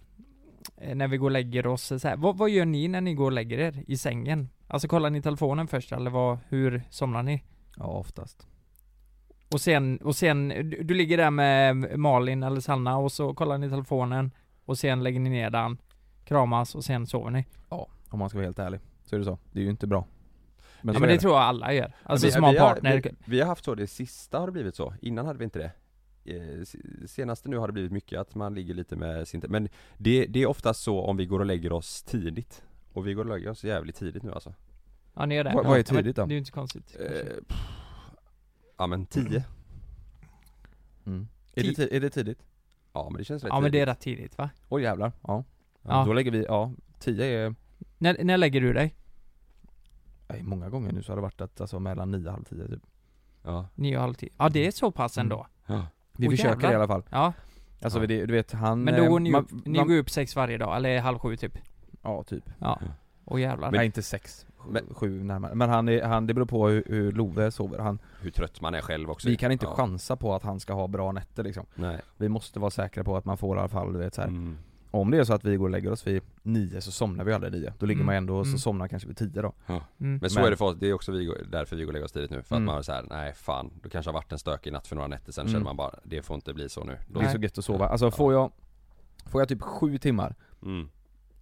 Speaker 1: eh, när vi går och lägger oss så här. Vad, vad gör ni när ni går och lägger er i sängen? Alltså kollar ni telefonen först eller vad, hur somnar ni?
Speaker 3: Ja, oftast.
Speaker 1: Och sen, och sen, du, du ligger där med Malin eller Sanna och så kollar ni telefonen och sen lägger ni ner den, kramas och sen sover ni.
Speaker 3: Om man ska vara helt ärlig. Så är det så. Det är ju inte bra.
Speaker 1: Men,
Speaker 3: så
Speaker 1: ja,
Speaker 3: är
Speaker 1: men det tror jag alla gör. Alltså
Speaker 2: Vi-
Speaker 1: som har
Speaker 2: vi
Speaker 1: partner.
Speaker 2: Vi, vi har haft så, det sista har det blivit så. Innan hade vi inte det. Eh, se- Senaste nu har det blivit mycket att man ligger lite med sin te- Men det, det är ofta så om vi går och lägger oss tidigt. Och vi går och lägger oss jävligt tidigt nu alltså.
Speaker 1: Ja ni gör det.
Speaker 3: Vad-
Speaker 1: ja.
Speaker 3: vad är
Speaker 1: Ja, men
Speaker 3: tidigt då?
Speaker 1: Det är ju inte konstigt.
Speaker 2: Eh, pff, ja men 10.
Speaker 3: Mm. Är, det ti- är det tidigt?
Speaker 2: Ja men det känns rätt
Speaker 1: Ja men det
Speaker 2: tidigt.
Speaker 1: är rätt tidigt va?
Speaker 3: Åh jävlar, ja.
Speaker 1: Ja.
Speaker 3: Då lägger vi, ja, 10 är,
Speaker 1: När, när lägger du dig?
Speaker 3: nej, många gånger nu så har det varit att, alltså mellan 9 och halv 10 typ.
Speaker 2: Ja.
Speaker 1: Nio och halv tio? Ja det är så pass ändå.
Speaker 2: Mm.
Speaker 3: Vi
Speaker 1: Åh,
Speaker 3: försöker
Speaker 1: jävlar.
Speaker 3: i alla fall.
Speaker 1: Ja,
Speaker 3: Alltså
Speaker 2: Ja.
Speaker 3: det, du vet han...
Speaker 1: men då
Speaker 3: eh,
Speaker 1: går ni
Speaker 3: man-
Speaker 1: upp, ni
Speaker 3: man-
Speaker 1: går upp sex varje dag, eller halv sju typ?
Speaker 3: Ja, typ.
Speaker 1: Ja. Och jävlar.
Speaker 3: Nej inte sex, sju,
Speaker 2: Men-
Speaker 3: sju närmare. Men han, är, han, det beror på hur, hur Love sover. Han,
Speaker 2: Hur trött man är själv också.
Speaker 3: vi kan inte
Speaker 2: ja.
Speaker 3: chansa på att han ska ha bra nätter liksom.
Speaker 2: Nej.
Speaker 3: Vi måste vara säkra på att man får i alla fall, du vet så här.
Speaker 2: Mm.
Speaker 3: Om det är så att vi går och lägger oss vid nio så somnar vi aldrig nio. Då ligger
Speaker 1: Mm.
Speaker 3: man ändå och så
Speaker 1: Mm.
Speaker 3: somnar kanske vid tio då.
Speaker 1: Mm.
Speaker 2: Men så
Speaker 3: Men-
Speaker 2: är det för oss, det är också vi, går- därför vi går och lägger oss tidigt nu. För att
Speaker 3: Mm.
Speaker 2: man är såhär, nej fan, det kanske har varit en stökig natt för några nätter sen
Speaker 3: Mm.
Speaker 2: känner man bara, det får inte bli så nu. Då,
Speaker 3: Det är
Speaker 1: Nej.
Speaker 3: så gött att sova. Alltså får jag, får jag typ sju timmar,
Speaker 2: mm.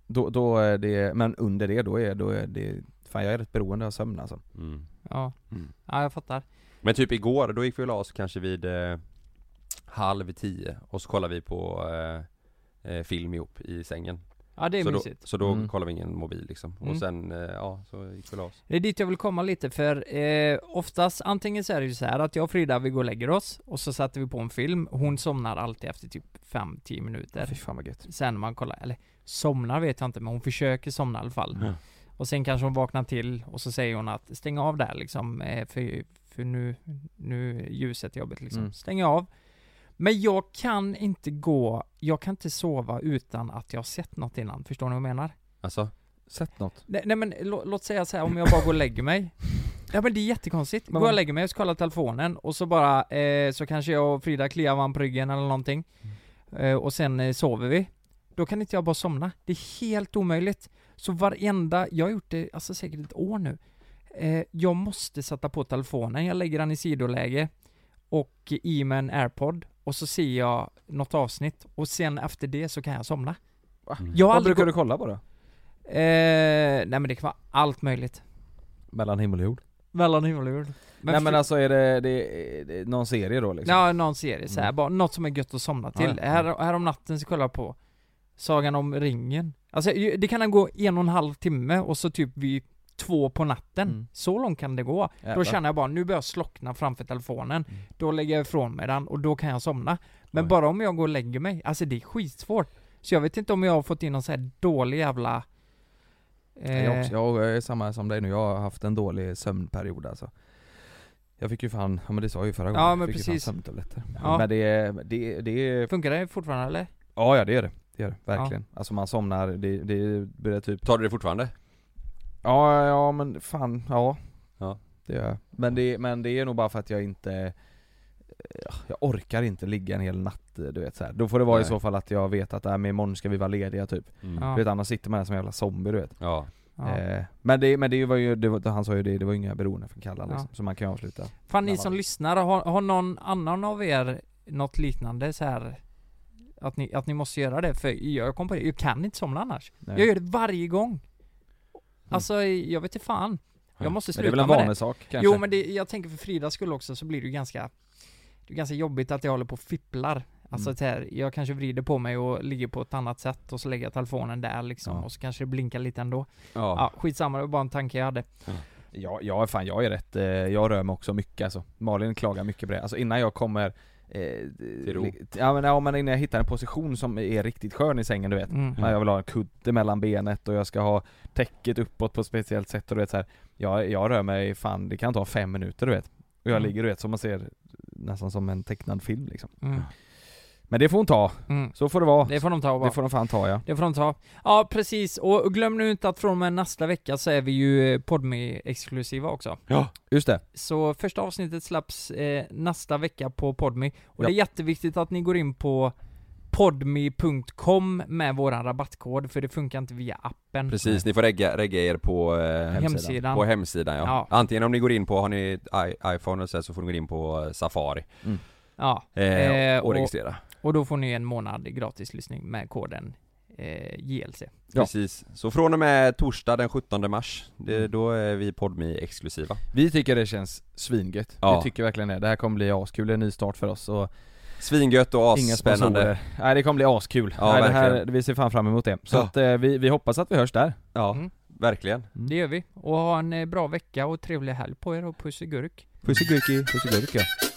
Speaker 3: då, då är det, men under det då är, då är det, fan jag är rätt beroende av sömn alltså.
Speaker 2: Mm.
Speaker 1: Ja.
Speaker 2: Mm.
Speaker 1: ja, jag fattar.
Speaker 2: Men typ igår, då gick vi och la oss kanske vid eh, halv tio och så kollade vi på eh, eh, film ihop i sängen.
Speaker 1: Ja det är
Speaker 2: så då,
Speaker 1: mysigt.
Speaker 2: så då
Speaker 3: Mm.
Speaker 2: kollade vi ingen mobil liksom.
Speaker 1: Mm.
Speaker 2: Och sen, eh, ja, så gick vi och la oss.
Speaker 1: Det är dit jag vill komma lite för eh, oftast antingen så är det ju så här att jag och Frida vi går och lägger oss och så sätter vi på en film. Hon somnar alltid efter typ 5-10 minuter.
Speaker 3: Fy fan vad gött.
Speaker 1: Sen när man kollar, eller somnar vet jag inte men hon försöker somna i alla fall.
Speaker 2: Ja.
Speaker 1: Och sen kanske hon vaknar till och så säger hon att stäng av där liksom eh, för, för nu, nu är ljuset jobbigt liksom.
Speaker 3: Mm.
Speaker 1: Stäng av. Men jag kan inte gå, jag kan inte sova utan att jag har sett något innan. Förstår ni vad jag menar?
Speaker 2: Alltså?
Speaker 3: Sett något?
Speaker 1: Nej, nej men lå, låt säga så här om jag bara går och lägger mig Ja men det är jättekonstigt,
Speaker 3: Men
Speaker 1: går
Speaker 3: vad-
Speaker 1: och lägger mig och ska kolla telefonen och så bara, eh, så kanske jag och Frida kliar varandra på ryggen eller någonting
Speaker 3: Mm.
Speaker 1: eh, Och sen eh, sover vi Då kan inte jag bara somna, det är helt omöjligt Så varenda, jag har gjort det alltså säkert ett år nu eh, Jag måste sätta på telefonen, jag lägger den i sidoläge Och i med en airpod och så ser jag något avsnitt och sen efter det så kan jag somna
Speaker 3: Va?
Speaker 1: Jag har
Speaker 3: Vad
Speaker 1: aldrig
Speaker 3: brukar
Speaker 1: gå-
Speaker 3: du kolla på då?
Speaker 1: Eh, nej men det kan vara allt möjligt
Speaker 3: Mellan himmel och jord?
Speaker 1: Mellan himmel och jord.
Speaker 3: Nej men alltså är det, det, är det någon serie då liksom?
Speaker 1: Ja, någon serie så här, bara något som är gött att somna till.
Speaker 3: Ja, ja.
Speaker 1: Här, här om natten så kollar jag på Sagan om ringen. Alltså ju- det kan gå en och en halv timme och så typ vid två på natten.
Speaker 3: Mm.
Speaker 1: Så långt kan det gå.
Speaker 3: Jävlar. Mm.
Speaker 1: Då känner jag bara, nu börjar jag slockna framför telefonen. Då lägger jag ifrån mig den och då kan jag somna. Men
Speaker 2: Oj.
Speaker 1: bara om jag går och lägger mig, alltså det är skitsvårt. Så jag vet inte om jag har fått in någon så här dålig jävla... eh,
Speaker 3: Jag, också, jag är samma som dig nu, jag har haft en dålig sömnperiod alltså Jag fick ju fan, ja men det sa jag ju förra gången,
Speaker 1: Ja,
Speaker 3: jag
Speaker 1: men
Speaker 3: fick ju fan
Speaker 1: precis.
Speaker 3: sömntabletter
Speaker 1: Ja.
Speaker 3: Men det, det, det,
Speaker 1: eh, Funkar det fortfarande eller?
Speaker 3: ja ja det gör det, det gör det verkligen Alltså man somnar, det, det börjar typ
Speaker 1: Mm.
Speaker 2: Tar du det fortfarande?
Speaker 3: Ja, ja men fan, ja.
Speaker 2: Ja.
Speaker 3: Det gör jag. Men det, men det är nog bara för att jag inte ja, jag orkar inte ligga en hel natt du vet så här. Då får det vara i
Speaker 2: Nej.
Speaker 3: så fall att jag vet att äh, men imorgon ska vi vara lediga typ.
Speaker 1: Ja.
Speaker 3: Du vet annars sitter man här som en jävla zombie du vet.
Speaker 2: Ja.
Speaker 1: Ja.
Speaker 3: Eh, men det, men det var ju, det var, han sa ju det, det var inga beroende från Kallan
Speaker 1: Ja.
Speaker 3: liksom, så man kan ju avsluta.
Speaker 1: Fan
Speaker 3: Nej,
Speaker 1: ni
Speaker 3: vad-
Speaker 1: som lyssnar, har, har någon annan av er något liknande så här att ni, att ni måste göra det? För jag kom på det,
Speaker 3: Eh,
Speaker 1: jag kan inte somna annars.
Speaker 3: Nej. Mm.
Speaker 1: Jag gör det varje gång. Alltså jag vet inte fan. Jag måste
Speaker 3: Men det är
Speaker 1: sluta
Speaker 3: väl en
Speaker 1: med det.
Speaker 3: vanesak kanske?
Speaker 1: Jo men det, jag tänker för Fridas skull också så blir det ju ganska Det är ganska jobbigt att jag håller på och fipplar Alltså
Speaker 3: Mm.
Speaker 1: det här, jag kanske vrider på mig och ligger på ett annat sätt och så lägger jag telefonen där liksom
Speaker 3: Ja.
Speaker 1: och så kanske det blinkar lite ändå Ja,
Speaker 2: Ja.
Speaker 1: skitsamma, det var bara en tanke jag hade
Speaker 3: Ja, ja fan jag är rätt, eh, jag rör mig också mycket alltså. Malin klagar mycket på det, alltså innan jag kommer eh,
Speaker 2: ro.
Speaker 3: li- ja, men, ja men innan jag hittar en position som är riktigt skön i sängen du vet
Speaker 1: mm.
Speaker 3: Jag vill ha en kudde mellan benet och jag ska ha täcket uppåt på ett speciellt sätt och du vet så här. Jag, jag rör mig fan, det kan ta fem minuter du vet Och jag
Speaker 1: Mm.
Speaker 3: ligger du vet som man ser nästan som en tecknad film liksom
Speaker 1: Mm.
Speaker 3: Men det får hon ta,
Speaker 1: Mm.
Speaker 3: så får det vara
Speaker 1: Det får de ta och bara.
Speaker 3: Det får de fan ta ja
Speaker 1: Det får de ta. Ja, precis. Och glöm nu inte att från och med nästa vecka så är vi ju podmi exklusiva också.
Speaker 3: Just det,
Speaker 1: Så första avsnittet släpps eh, nästa vecka på Podmi. Och
Speaker 3: Ja.
Speaker 1: det är jätteviktigt att ni går in på podmi.com med våran rabattkod, för det funkar inte via appen.
Speaker 2: Precis, ni får regga, regga er på, eh,
Speaker 1: Hemsidan.
Speaker 2: på hemsidan ja.
Speaker 1: Ja.
Speaker 2: Antingen om ni går in på, har ni i- iPhone och så, här, så får ni gå in på eh, Safari
Speaker 1: Ja.
Speaker 2: eh,
Speaker 1: Eh,
Speaker 2: och,
Speaker 1: och-
Speaker 2: registrera
Speaker 1: Och då får ni en månad gratis lyssning med koden eh, JLC.
Speaker 3: ja.
Speaker 2: Precis, så från och med torsdag den 17 mars, det, då är vi podmi exklusiva
Speaker 3: vi tycker det känns svingött
Speaker 2: Ja.
Speaker 3: Vi tycker verkligen det, det här kommer bli askul, det är en ny start för oss och
Speaker 2: Svingött och
Speaker 3: Inga
Speaker 2: asspännande
Speaker 3: spännande. Nej det kommer bli askul.
Speaker 2: Ja,
Speaker 3: Nej, det här,
Speaker 2: verkligen.
Speaker 3: vi ser fan fram emot det. Så
Speaker 2: Ja.
Speaker 3: att, eh, vi, vi hoppas att vi hörs där.
Speaker 2: Ja,
Speaker 1: Mm.
Speaker 2: verkligen
Speaker 1: Det gör vi. Och ha en eh, bra vecka och trevlig helg på er och puss i gurk.
Speaker 3: Puss i gurki, puss i gurki.